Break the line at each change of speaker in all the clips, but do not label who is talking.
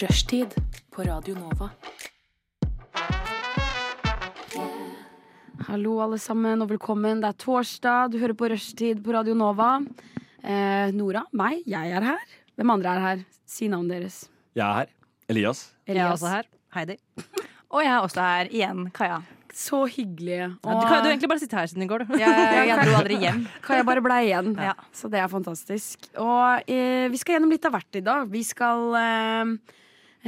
Rushtid på Radio Nova. Hallo, alle sammen, og velkommen. Det er torsdag. Du hører på Rushtid på Radio Nova. Eh, Nora, meg, jeg er her. Hvem andre er her? Si navnet deres.
Jeg er her. Elias.
Jeg er
Elias.
også her. Heidi.
Og jeg er også her igjen, Kaja.
Så hyggelig.
Ja, du kan jo egentlig bare sitte her siden i går, du.
Jeg, jeg dro aldri hjem.
Kan jeg bare blei igjen.
Ja.
Så det er fantastisk. Og eh, vi skal gjennom litt av hvert i dag. Vi skal eh,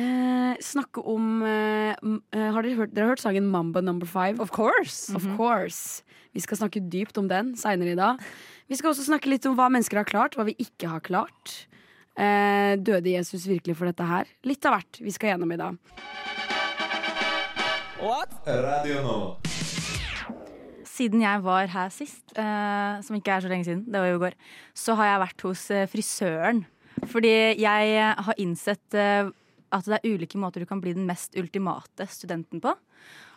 eh, snakke om eh, m- eh, Har dere hørt, dere har hørt sangen Mamba Number Five?
Of course!
Of course. Mhm. Vi skal snakke dypt om den seinere i dag. Vi skal også snakke litt om hva mennesker har klart, hva vi ikke har klart. Eh, døde Jesus virkelig for dette her? Litt av hvert vi skal gjennom i dag.
Radio Nova.
Siden jeg var her sist, eh, som ikke er så lenge siden, det var jo i går, så har jeg vært hos eh, frisøren. Fordi jeg har innsett eh, at det er ulike måter du kan bli den mest ultimate studenten på.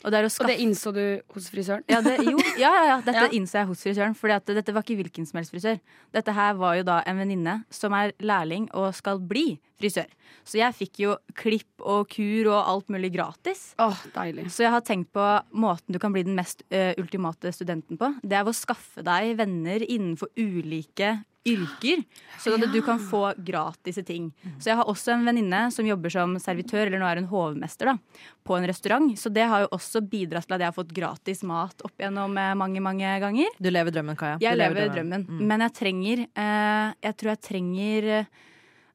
Og det er å
Og
skaffe
det innså du hos frisøren?
ja, det, jo, ja, ja, ja, dette
Ja.
innså jeg hos frisøren. Fordi at dette var ikke hvilken som helst frisør. Dette her var jo da en venninne som er lærling og skal bli frisør. Så jeg fikk jo klipp og kur og alt mulig gratis.
Åh, deilig.
Så jeg har tenkt på måten du kan bli den mest ø, ultimate studenten på. Det er ved å skaffe deg venner innenfor ulike yrker, sånn at du kan få gratis ting. Så jeg har også en venninne som jobber som servitør, eller nå er hun hovmester, da, på en restaurant. Så det har jo også bidratt til at jeg har fått gratis mat opp gjennom eh, mange, mange ganger.
Du lever drømmen, Kaja.
Jeg
du
lever drømmen, men jeg trenger eh, Jeg tror jeg trenger eh,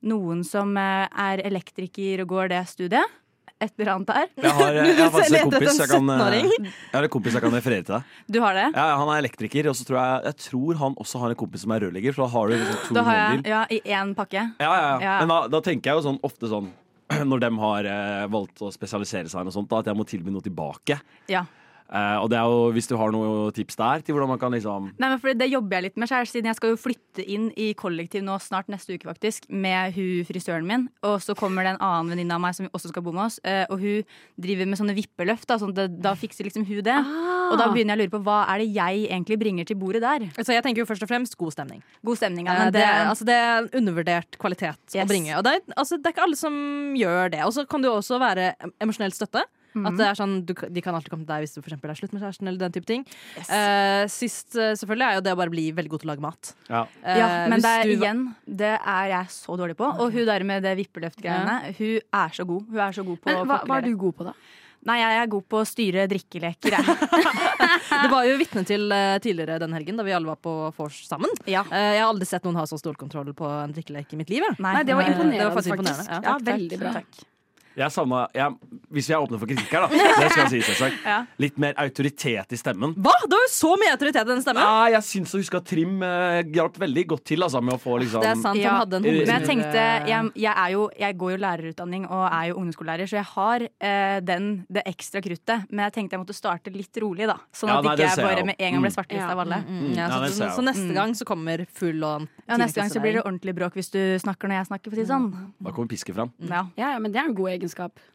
noen som eh, er elektriker og går det studiet. Et eller annet der.
Jeg har, jeg har faktisk en
Leter etter
kompis
en
jeg kan, eh,
17-åring.
jeg har en kompis jeg kan referere til. deg
Du har det?
ja, Han er elektriker, og så tror jeg, jeg tror han også har en kompis som er rørlegger. Så da har du liksom to
Da har jeg
mobiler.
ja, i én pakke.
Ja, ja, ja.
Ja.
Men da, da tenker jeg jo sånn ofte sånn når de har eh, valgt å spesialisere seg, og sånt, da, at jeg må tilby noe tilbake.
Ja.
Eh, og det er jo hvis du har noen tips der til hvordan man kan liksom
Nei, men fordi Det jobber jeg litt med, selv, siden jeg skal jo flytte inn i kollektiv nå snart neste uke faktisk, med hun frisøren min. Og så kommer det en annen venninne av meg som også skal bo med oss. eh, Og hun driver med sånne vippeløft. Da, sånn at det- da fikser liksom hun det.
Ah.
Og da begynner jeg å lure på hva er det jeg egentlig bringer til bordet der.
Så jeg tenker jo først og fremst god stemning.
God stemning.
Eh,
Ja, men
det,
det,
er- altså, det er en undervurdert kvalitet å
Yes.
bringe. Og det er, altså, det er ikke alle som gjør det. Og så kan det jo også være em- emosjonell støtte. At det er sånn, du, kan- De kan alltid komme til deg hvis du for eksempel er slutt med kjæresten. eller den type ting
Yes.
Eh, Sist eh, selvfølgelig er jo det å bare bli veldig god til å lage mat.
ja.
Eh,
ja, men
hvis
det er,
du-
igjen, det er jeg så dårlig på. Og hun der med det vippeløft-greiene, hun er så god. Hun er så god på
Men
å
hva, hva er
kokkelere.
du god på, da?
Nei, jeg er god på å styre drikkeleker, jeg.
Det var jo vitne til eh, tidligere den helgen, da vi alle var på vors sammen.
Ja.
Eh, Jeg har aldri sett noen ha så stålkontroll på en drikkelek i mitt liv. jeg.
Nei, Eh, det var imponerende,
det var faktisk
faktisk.
imponerende,
Ja,
Takk, takk,
veldig bra.
takk.
Jeg savna jeg, Hvis vi er åpne for kritikk her, da. Det skal jeg si, selvsagt.
Ja.
Litt mer autoritet i stemmen.
Hva?! Det var jo så mye autoritet i den stemmen!
Ja, Ah, jeg syns å huske at Trim eh, hjalp veldig godt til altså, med å få liksom
Ah, Det er sant,
Ja.
han hadde en
Men jeg
Men jeg
hovedsnurre-
tenkte,
mm,
jeg, jeg, er jo, jeg går jo lærerutdanning og er jo ungdomsskolelærer, så jeg har eh, den, det ekstra kruttet. Men jeg tenkte jeg måtte starte litt rolig, da. Sånn
Ja,
at
nei,
ikke
det
jeg
ser jeg jo.
bare med en gang
Mm.
ble svartlista av alle.
Mm, ja,
Ja,
så,
det ser
så,
jeg
så
jo.
neste gang så kommer full og
Ja, neste gang så blir det ordentlig bråk hvis du snakker når jeg snakker, for å si det sånn.
Da kommer pisket fram.
Ja.
Ja, ja, men Det er en god egenskap.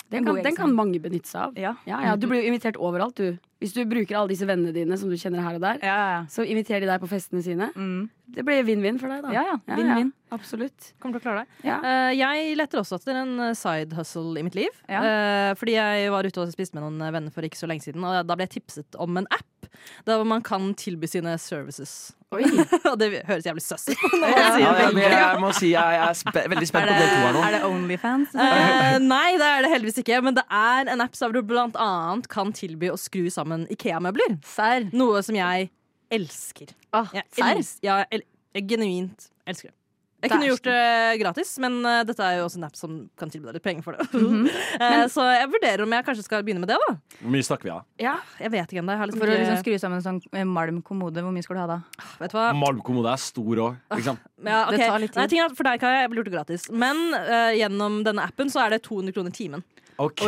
Den
En
kan,
god
den kan
egenskap.
mange benytte seg av.
Ja.
Ja, ja, Du blir jo invitert overalt, du. Hvis du bruker alle disse vennene dine som du kjenner her og der,
Ja, ja.
så inviterer de deg på festene sine.
Mm.
Det blir vinn-vinn for deg, da.
ja, ja. Vinn-vinn.
Absolutt.
Kommer til å klare deg.
Ja.
Eh, jeg leter også etter en eh, side hustle i mitt liv.
Ja.
Eh, fordi jeg var ute og spiste med noen eh, venner for ikke så lenge siden, og da ble jeg tipset om en app der hvor man kan tilby sine services.
Oi.
Og det høres jævlig søss ut.
Ja, jeg, jeg, jeg må si jeg, jeg er spe veldig spent
Er
på
det,
del to her nå.
er det Onlyfans?
Eh, nei, det er det heldigvis ikke. Men det er en app som du blant annet kan tilby å skru sammen Ikea-møbler.
Serr?
Noe som jeg elsker.
Ah,
Jeg,
serr?
els ja, jeg, el jeg genuint elsker det. Jeg
Det
kunne
er
gjort det gratis, men eh, dette er jo også en app som kan tilby deg litt penger for det.
Mhm.
Eh, så jeg vurderer om jeg kanskje skal begynne med det, da.
Hvor mye snakker vi av?
Ja.
Jeg vet ikke ennå. Jeg har liksom
For å
ikke-
liksom skru sammen en sånn eh, malm kommode, hvor mye skal du ha da?
Vet du hva?
Malmkommode er stor òg. Liksom.
Ja,
Mm, Det
ok.
tar litt tid.
Nei, ting er, at for deg, Kaja, jeg ville gjort det gratis. Men eh, gjennom denne appen så er det 200 kroner timen.
OK!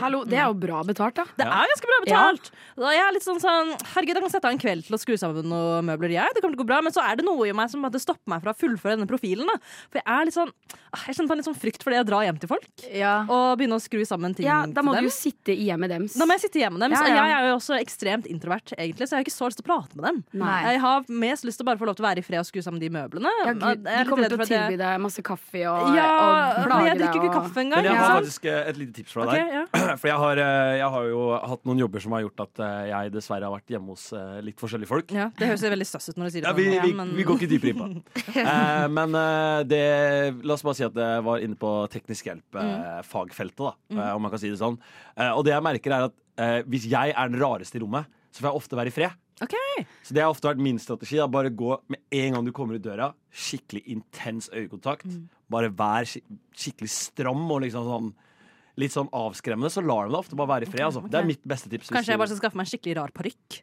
Hallo, det er jo bra betalt, da.
Det er ganske bra betalt. Da jeg er litt sånn sånn Herregud, jeg kan sette av en kveld til å skru sammen noen møbler, jeg. Det kommer til å gå bra. Men så er det noe i meg som på en måte stopper meg fra å fullføre denne profilen. Da. For jeg er litt sånn ah, Jeg kjenner på en litt sånn frykt for det å dra hjem til folk
Ja.
og begynne å skru sammen ting
Ja, da må du
til dem.
jo sitte i hjemmet deres.
Da må jeg sitte hjemme med dem.
Ja,
Så
ja.
jeg er jo også ekstremt introvert, egentlig, så jeg har ikke så lyst til å prate med dem.
Nei.
Jeg har mest lyst til å bare få lov til å være i fred og skru sammen de møblene.
Ja, Gud, de kommer til å tilby
deg
deg masse kaffe og,
ja,
og
men
plage
jeg drikker jo
deg
ikke
og-
kaffe
Men
engang.
jeg
ikke
har
sant?
faktisk eh, et lite tips fra
Ok,
deg.
ja.
For jeg har, eh, jeg har jo hatt noen jobber som har gjort at eh, jeg dessverre har vært hjemme hos eh, litt forskjellige folk.
ja, Det høres jo veldig søss ut når du sier det.
Ja,
sånn,
vi, vi,
men-
vi går ikke dypere inn på det. Eh, men eh, det, la oss bare si at jeg var inne på teknisk
Mm.
hjelp-fagfeltet, da, eh, om man kan si det sånn. Eh, og det jeg merker, er at eh, hvis jeg er den rareste i rommet, så får jeg ofte være i fred.
Ok.
Så det har ofte vært min strategi. Da. Bare gå med en gang du kommer ut døra, skikkelig intens øyekontakt.
Mm.
Bare vær skik skikkelig stram og liksom sånn litt sånn avskremmende, så lar de deg ofte bare være i fred. Altså. Det er mitt beste tips. hvis
Kanskje jeg
du-
bare skal skaffe meg en skikkelig rar parykk.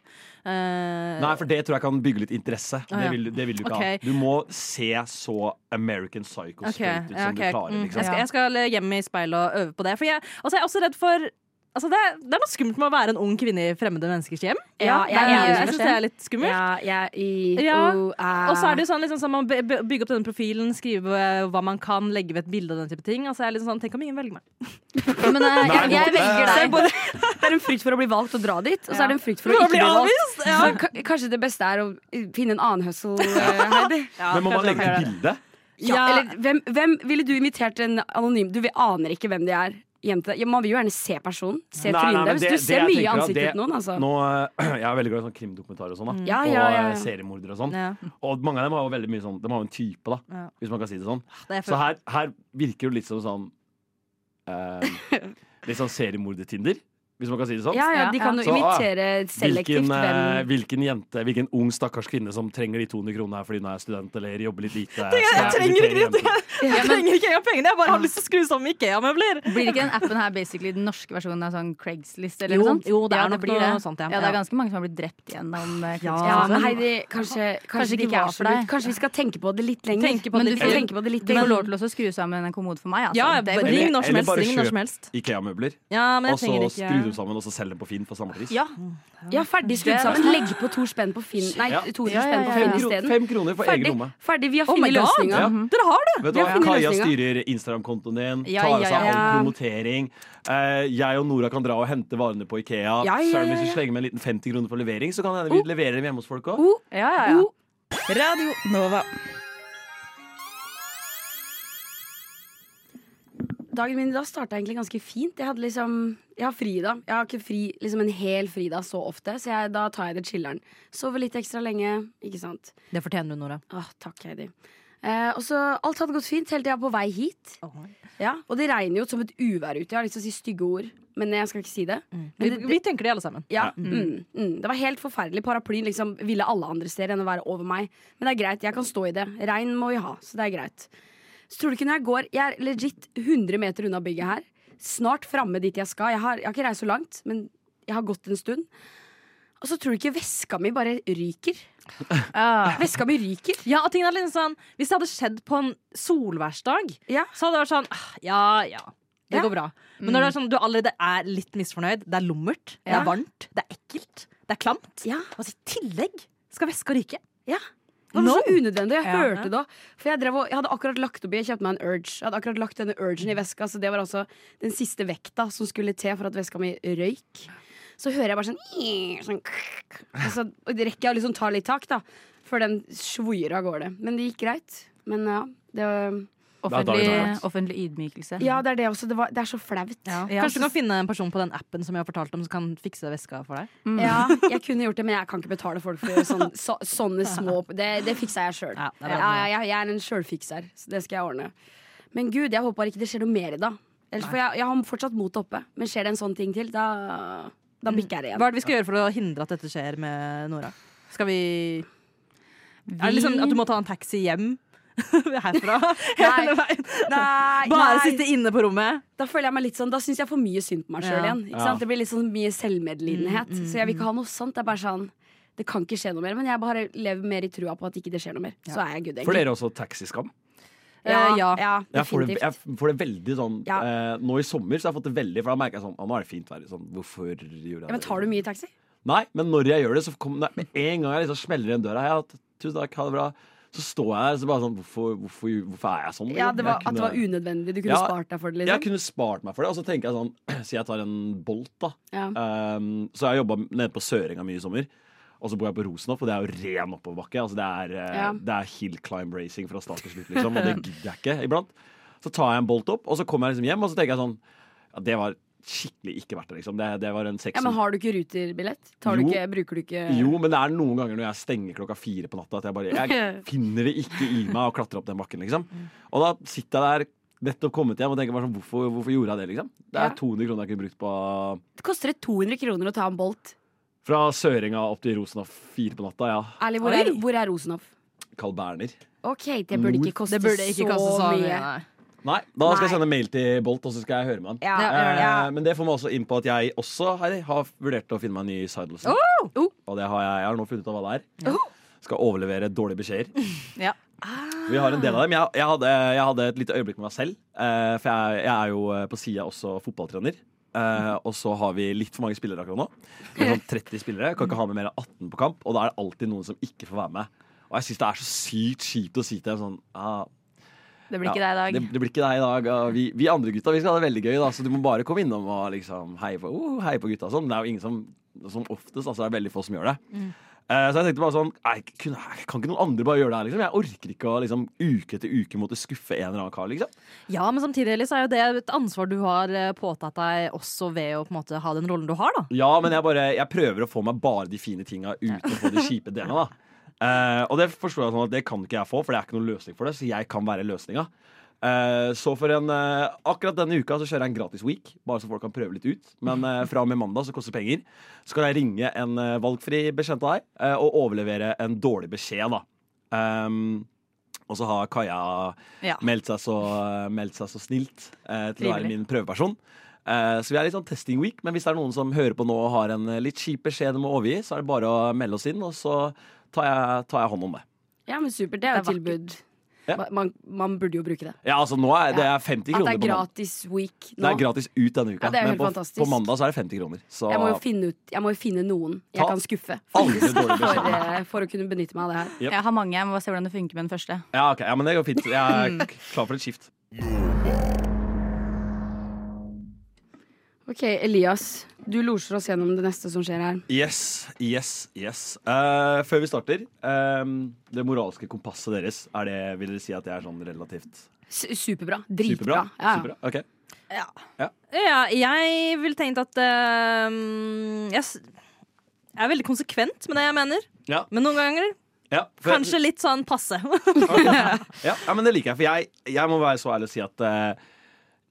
Eh,
Nei, for det tror jeg kan bygge litt interesse.
Ah,
Det
ja.
vil, du- det vil du ikke
Ok.
ha. Du må se så American Psycho
ok,
straight ut
ja,
som
ok.
du klarer.
Mm,
Liksom.
jeg, skal, jeg skal hjem i speilet og øve på det. For jeg, altså, jeg er også redd for Altså det, er, det er noe skummelt med å være en ung kvinne i fremmede menneskers hjem.
Ja,
Det
jeg er
er-
enig i
jeg
det.
synes det er litt skummelt.
Ja, jeg i
Ja.
oh, eh.
Og så er det jo sånn, liksom, sånn man be- be- bygger opp denne profilen, skrive eh, hva man kan, legge ved et bilde og den type ting. Altså, jeg er liksom sånn, Tenk om ingen velger meg.
Men eh, jeg, jeg
Det
velger
er,
deg.
både, det er en frykt for å bli valgt og dra dit, og så
Ja.
er det en frykt for å
For å
ikke
bli
bli valgt.
avvist, ja.
Så ka- Kanskje det beste er å finne en annen hustle, eh, Heidi.
Men må man legge til bilde?
Ja,
Ja.
Eller hvem, hvem ville du invitert en anonym Du vi aner ikke hvem de er. hjem til deg? Ja, man vil jo gjerne se personen. Se
Nei,
trynet
nei, men
deres.
det-
Du
det
ser
jeg
mye i
tenker at
ansiktet
det-
til noen, altså.
Nå, eh, jeg er veldig glad i sånn krimdokumentarer og sånn.
Mm.
da.
Ja, ja, ja,
Og eh,
ja.
seriemordere og sånn.
Ja.
Og mange av dem har jo veldig mye sånn De har jo en type, da,
Ja.
hvis man kan si det sånn.
Det er
Så her, her virker det litt som sånn eh, Litt sånn seriemorder-Tinder, hvis man kan si det sånn.
Ja, ja, de
Ja,
kan
ja.
jo imitere selektivt
Hvilken, eh,
hvem
hvilken jente, hvilken ung stakkars kvinne som trenger de 200 kronene her fordi hun er student eller jobber litt lite.
jeg
skal
trenger
invitere
ikke det.
hjem.
Jeg trenger ikke engang pengene, jeg bare har lyst til å skru sammen Ikea-møbler.
Blir ikke den appen her basically den norske versjonen av sånn Craigslist? Eller
Jo,
noe sånt?
jo, det er
ja,
nok
blir
noe
det.
sånt, ja.
ja, det er
Ja.
ganske mange som har blitt drept gjennom eh,
Ja.
ja,
Craigslist.
men Heidi, kanskje, kanskje,
Kanskje
det
ikke
ikke var
var for
så lurt.
deg.
Kanskje vi skal tenke på det litt lenger.
Tenke på
Men
det
du
litt.
får-
Tenke på det litt
Du får
lenger.
lov til å skru sammen en kommode for meg. Altså.
Ja,
Det går
bare-
ring når som
Eller
helst.
bare
Ring når
kjøp.
som helst.
Ikea-møbler.
Ja, men
Og
jeg
så
trenger ikke
skru dem sammen og så selge dem på Finn for samme pris.
Ja,
Ja, ferdig skrudd
Det-
sammen. Legg på to spenn på Finn. Nei,
Ja.
to
Ja, ja,
spenn på
ja,
Finn
ja.
isteden.
Fem kroner for egen
Ferdig.
lomme.
ferdig. Vi har
Oh my
funnet
god.
løsninga.
Ja.
Dere har det!
Vet du
Vi
hva?
har funnet
Kaja
løsninga.
styrer Instagram-kontoen din,
Ja,
tar
ja,
seg av
ja.
all promotering. Eh, jeg og Nora kan dra og hente varene på
Ja,
Ikea.
ja,
Søren,
ja,
Hvis
ja.
vi slenger med en liten 50 kroner for levering, så kan det hende vi leverer dem hjemme hos folk òg.
Oh,
ja, ja. ja.
oh.
Radio Nova.
Dagen min i dag starta egentlig ganske fint. Jeg hadde liksom Jeg har fri da. Jeg har ikke fri liksom en hel fridag så ofte, så jeg, da tar jeg det chiller'n. Sover litt ekstra lenge, ikke sant.
Det fortjener du, Nora.
Åh, takk, Heidi. Eh, og så Alt hadde gått fint helt til jeg var på vei hit. Ja, Og det regner jo som et uvær ute. Jeg har lyst til å si stygge ord, men jeg skal ikke si det.
Vi,
Men det,
vi tenker det alle sammen.
Ja, mm, mm. Det var helt forferdelig. Paraplyen liksom ville alle andre steder enn å være over meg. Men det er greit, jeg kan stå i det. Regn må vi ha, så det er greit. Så tror du ikke når jeg går Jeg er legit 100 meter unna bygget her. Snart framme dit jeg skal. Jeg har, jeg har ikke reist så langt, men jeg har gått en stund. Og så tror du ikke veska mi bare ryker?
Ja.
Veska mi ryker.
Ja, og tingene er litt sånn Hvis det hadde skjedd på en solværsdag,
Ja.
så hadde det vært sånn ah, Ja, ja. Det
Ja.
går bra. Men når det er sånn, du allerede er litt misfornøyd, det er lummert, det
Ja.
er varmt, det er ekkelt, det er klamt
Ja.
Og så i tillegg skal veska ryke.
Ja. Det var så unødvendig. Jeg
Ja.
hørte det. For jeg, drev og, jeg hadde akkurat lagt opp i Jeg kjøpte meg en Urge. Jeg hadde akkurat lagt denne Urgen i veska, så det var altså den siste vekta som skulle til for at veska mi røyk. Så hører jeg bare sånn, sånn og Så rekker jeg å liksom ta litt tak, da. Før den svoier av gårde. Men det gikk greit. Men ja. Det, var,
Oh, Offentlig,
dagen er
offentlig ydmykelse.
ja, det er det også. Det, var, det er så flaut.
Ja.
Kanskje du kan finne en person på den appen som jeg har fortalt om, som kan fikse veska for deg.
Ja, jeg kunne gjort det, men jeg kan ikke betale folk for sånn, så, sånne små Det, det fiksa jeg sjøl.
Ja, det er bra.
ja, jeg, jeg er en sjølfikser, så det skal jeg ordne. Men gud, jeg håper bare ikke det skjer noe mer i dag. Ellers, for jeg, jeg har fortsatt motet oppe, men skjer det en sånn ting til, da, da bikker jeg det
Mm.
igjen.
Hva er det vi skal gjøre for å hindre at dette skjer med Nora? Skal vi
Vi-
Er det liksom at du må ta en taxi hjem herfra?
Nei.
Hele veien?
Nei,
Bare
nei.
sitte inne på rommet?
Da føler jeg meg litt sånn Da syns jeg for mye synd på meg sjøl
Ja. Mm,
igjen. Ikke
Ja.
sant? Det blir litt sånn mye selvmedlidenhet. Så jeg vil ikke ha noe sånt. Det er bare sånn Det kan ikke skje noe mer. Men jeg bare lever mer i trua på at ikke det skjer noe mer. Så er jeg good,
For
egentlig.
dere også taxiskam?
Eh, ja.
ja,
Jeg får, det,
definitivt.
jeg får det veldig sånn
Ja.
eh, Nå i sommer så har jeg fått det veldig For da merker jeg sånn, «Å, nå er det fint vær sånn, Hvorfor gjorde jeg det?
Ja, men tar du mye taxi?
Nei, men når jeg gjør det, så kom, nei, med en gang jeg liksom smeller igjen døra «Hei, ja, Tusen takk, ha det bra Så står jeg der så bare sånn Hvorfor, hvorfor, hvorfor er jeg sånn?
Ja,
liksom?
det
Jeg
var, At det
kunne-
var unødvendig. Du kunne
Ja,
spart deg for det.
Jeg
liksom
kunne spart meg for det Og så tenker jeg sånn Si jeg tar en bolt da
ja.
Um, så jeg har jobba nede på Sørenga mye i sommer. Og så bor jeg på Rosenhoff, og det er jo ren oppoverbakke. Altså det, er, eh,
Ja.
det er hill climb racing fra start til slutt, liksom. Og det gidder jeg ikke iblant. Så tar jeg en bolt opp, og så kommer jeg liksom hjem, og så tenker jeg sånn ja, Det var skikkelig ikke verdt det, liksom. Det, det var en
ja, Men
sekser.
har du ikke ruterbillett? Tar du
Jo.
ikke, bruker du ikke
Jo, men det er noen ganger når jeg stenger klokka fire på natta at jeg bare Jeg finner det ikke i meg å klatre opp den bakken, liksom. Og da sitter jeg der, nettopp kommet hjem, og tenker bare sånn Hvorfor, hvorfor gjorde jeg det, liksom? Det
Ja.
er 200 kroner jeg kunne brukt på
Det koster det 200 kroner å ta en Bolt.
Fra Sørenga opp til Rosenhoff fire på natta, ja.
Ærlig, hvor
Oi.
er, hvor er Rosenhoff?
Carl Berner.
Ok, det burde ikke koste,
Det burde ikke kaste
så,
så mye.
mye.
Nei.
Nei, da skal jeg
Nei.
sende mail til Bolt, og så skal jeg høre med han.
Ja,
Ja,
gjør det.
Eh, men det får meg også inn på at jeg også hei, har vurdert å finne meg en ny sideless.
Oh!
Og det har jeg, jeg har nå funnet ut av hva det er. Skal overlevere dårlige beskjeder.
Ja.
Ah.
Vi har en del av dem. Jeg, jeg, hadde, jeg hadde et lite øyeblikk med meg selv. eh, for jeg, jeg er jo eh, på sida også fotballtrener. Eh, og så har vi litt for mange spillere akkurat nå. Det er Sånn 30 spillere. Kan ikke ha med mer enn 18 på kamp. Og da er det alltid noen som ikke får være med. Og jeg syns det er så sykt kjipt å si til dem sånn ah,
Det blir ikke
Ja,
deg i
Det,
dag.
det blir ikke deg i dag. og Vi, vi andre gutta vi skal ha det veldig gøy, da, så du må bare komme innom og liksom heie på, uh, heie på gutta. og Sånn. Det er jo ingen som Som oftest altså, det er veldig få som gjør det.
Mm.
Eh, så jeg tenkte bare sånn nei, kunne, Kan ikke noen andre bare gjøre det her, liksom? Jeg orker ikke å liksom, uke etter uke måtte skuffe en eller annen kar, liksom.
Ja, men samtidig Elise, er jo det et ansvar du har eh, påtatt deg også ved å på en måte ha den rollen du har, da.
Ja, men jeg, bare, jeg prøver å få meg bare de fine tinga uten å få de kjipe delene. Da. Eh, og det forstår jeg sånn at det kan ikke jeg få, for det er ikke noen løsning for det. Så jeg kan være løsninga. Eh, så for en, eh, akkurat denne uka så kjører jeg en gratis week, bare så folk kan prøve litt ut. Men eh, fra og med mandag, så koster det penger, så skal jeg ringe en eh, valgfri bekjent av deg eh, og overlevere en dårlig beskjed, da. Ehm, og så har Kaja
Ja.
meldt, seg så, eh, meldt seg så snilt eh, til å
Trivelig.
være min prøveperson. Eh, så vi er litt sånn testing week, men hvis det er noen som hører på nå og har en eh, litt kjip beskjed de må overgi, så er det bare å melde oss inn, og så tar jeg, tar jeg hånd om det.
ja, men supert. Det er jo et
Det er
tilbud.
Ja.
Ma- Man, man burde jo bruke det.
Ja, altså nå er det
Ja.
er 50
At det er
kroner på mandag.
gratis week nå.
Det er gratis ut denne uka,
Ja, det er helt
men på,
fantastisk.
på mandag så er det 50 kroner. Så
Jeg må jo finne, ut, jeg må jo finne noen jeg
Ta
kan skuffe
alle dårlige
for,
beskjeder.
eh, for å kunne benytte meg av det her.
Yep.
Jeg har mange, jeg må bare se hvordan det funker med den første.
Ja, ok, ja, men det går fint. Jeg
Mm.
er k- klar for et skift.
Ok, Elias, du loser oss gjennom det neste som skjer her.
Yes, yes, yes. Eh, før vi starter, ehm, det moralske kompasset deres, er det, vil dere si at det er sånn relativt
S superbra.
superbra?
Dritbra. Ja, ja.
Superbra? Ok.
Ja, jeg ville tenkt at eh, jeg, s- jeg er veldig konsekvent med det jeg mener.
Ja.
Men noen ganger
Ja, for-
kanskje litt sånn passe.
Ja, ja, men det liker jeg, for jeg, jeg må være så ærlig og si at eh,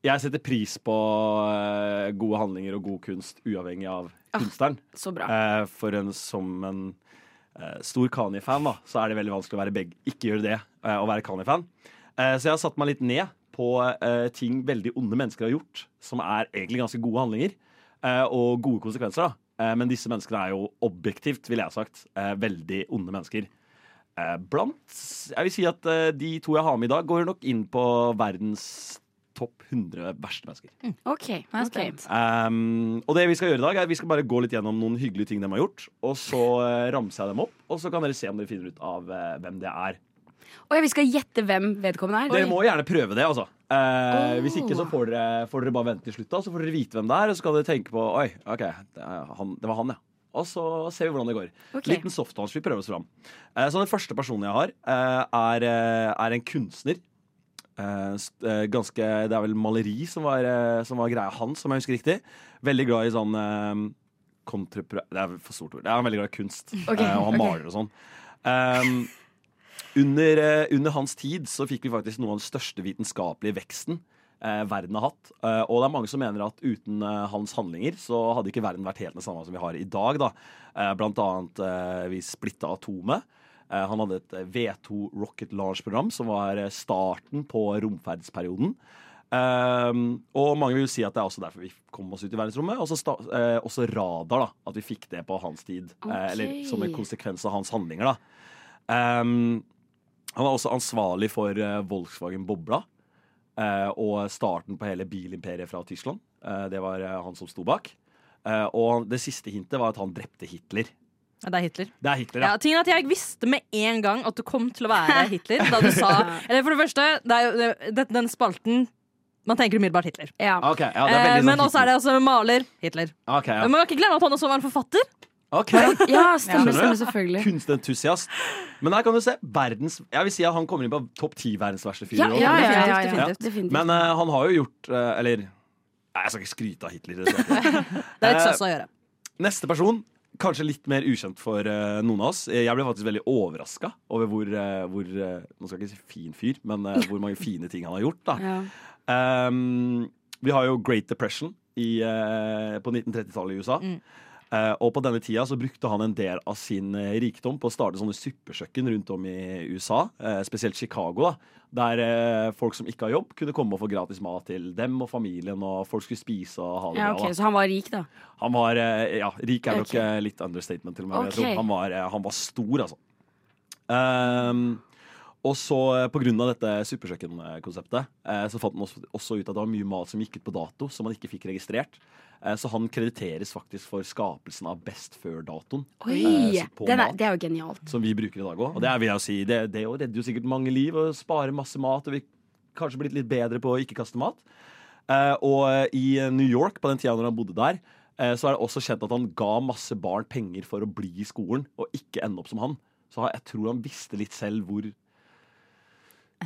jeg setter pris på eh, gode handlinger og god kunst, uavhengig av kunstneren.
Ah, Så bra.
Eh, for en som en eh, stor Kanye-fan, da, så er det veldig vanskelig å være begge. Ikke gjøre det, eh, å være Kanye-fan. Eh, så jeg har satt meg litt ned på eh, ting veldig onde mennesker har gjort, som er egentlig ganske gode handlinger. eh, og gode konsekvenser, da. Eh, men disse menneskene er jo objektivt, vil jeg ha sagt, eh, veldig onde mennesker. Eh, blant Jeg vil si at eh, de to jeg har med i dag, går nok inn på verdens topp 100 verste mennesker.
Ok.
Nå er jeg
ok.
spent.
Um, og det vi skal gjøre i dag er at vi skal bare gå litt gjennom noen hyggelige ting de har gjort. Og så eh, ramser jeg dem opp, og så kan dere se om dere finner ut av eh, hvem det er.
Og ja, vi skal gjette hvem vedkommende er.
Dere må gjerne prøve det, altså. Eh, Hvis ikke så
Oh.
får dere, får dere bare vente til slutt, da, så får dere vite hvem det er. Og så kan dere tenke på Oi, ok, det, er han, det var han, ja. Og så ser vi hvordan det går.
Ok.
Liten softdance. Vi prøver oss fram. Eh, så den første personen jeg har, eh, er, eh, er en kunstner. Eh, s- eh, ganske, det er vel maleri som var, eh, som var greia hans, om jeg husker riktig. Veldig glad i sånn eh, kontrapro... Det er vel for stort ord. Det er veldig glad i kunst.
Ok,
eh, og
ok.
han maler og sånn. Ehm, under, eh, under hans tid så fikk vi faktisk noe av den største vitenskapelige veksten eh, verden har hatt. Eh, og det er mange som mener at uten eh, hans handlinger så hadde ikke verden vært helt den samme som vi har i dag. Da. Eh, blant annet eh, vi splitta atomet. Eh, han hadde et eh, V2 Rocket Launch-program som var eh, starten på romferdsperioden. Ehm, og mange vil jo si at det er også derfor vi kom oss ut i verdensrommet. Også, sta eh, også radar, da. At vi fikk det på hans tid. Eh, eller
Ok.
som en konsekvens av hans handlinger, da. Ehm, Han var også ansvarlig for eh, Volkswagen Bobla eh, og starten på hele bilimperiet fra Tyskland. Eh, det var eh, han som sto bak. Eh, og han- det siste hintet var at han drepte Hitler.
Ja, det er Hitler.
Det er Hitler,
Ja,
ja.
tingen er at Jeg visste med en gang at du kom til å være Hitler. Da du sa, eller for det første, det er jo, det, den- den spalten Man tenker umiddelbart Hitler.
Ja.
Ok, ja, det er
Eh,
veldig sånn
men også er
Hitler.
det altså maler Hitler.
Ok, ja.
Men Man kan ikke glemme at han også var en forfatter.
Ok.
Ja, stemmer,
Skjønner
stemmer,
du?
selvfølgelig.
Kunstentusiast. Men her kan du se verdens Jeg vil si at han kommer inn på topp ti verdens verste fyrer.
Ja,
også.
ja,
ja,
definitivt.
ja, ja.
definitivt, definitivt.
Men eh, han har jo gjort eh, Eller Nei, jeg skal ikke skryte av Hitler. Det skal jeg ikke.
Det er litt
Eh,
søss å gjøre.
Neste person, kanskje litt mer ukjent for eh, noen av oss. Eh, Jeg ble faktisk veldig overraska over hvor, eh, hvor eh, Nå skal jeg ikke si fin fyr, men eh, hvor mange fine ting han har gjort. Da.
ja.
Ehm, vi har jo Great Depression i, eh, på 1930-tallet i USA.
Mm.
Eh, og på denne tida så brukte han en del av sin eh, rikdom på å starte sånne suppekjøkken rundt om i USA, eh, spesielt Chicago, da, der eh, folk som ikke har jobb, kunne komme og få gratis mat til dem og familien, og folk skulle spise og ha det
ja,
bra. da.
ok, Så han var rik, da.
Han var eh, Ja, rik er nok
Ok.
eh, litt understatement til meg. men Jeg
Ok.
tror. Han, var, eh, han var stor, altså. Ehm, og så eh, på grunn av dette superkjøkkenkonseptet eh, så fant han også, også ut at det var mye mat som gikk ut på dato, som han ikke fikk registrert. Eh, så han krediteres faktisk for skapelsen av best før-datoen.
Oi!
Eh, så på
Den er,
mat.
det er jo genialt.
Som vi bruker i dag òg. Og det, er, vil jeg jo si, det, det jo redder jo sikkert mange liv og sparer masse mat. Og vi kanskje blitt litt bedre på å ikke kaste mat. Eh, og eh, i eh, New York, på den tida når han bodde der, eh, så er det også kjent at han ga masse barn penger for å bli i skolen og ikke ende opp som han. Så han- jeg tror han visste litt selv hvor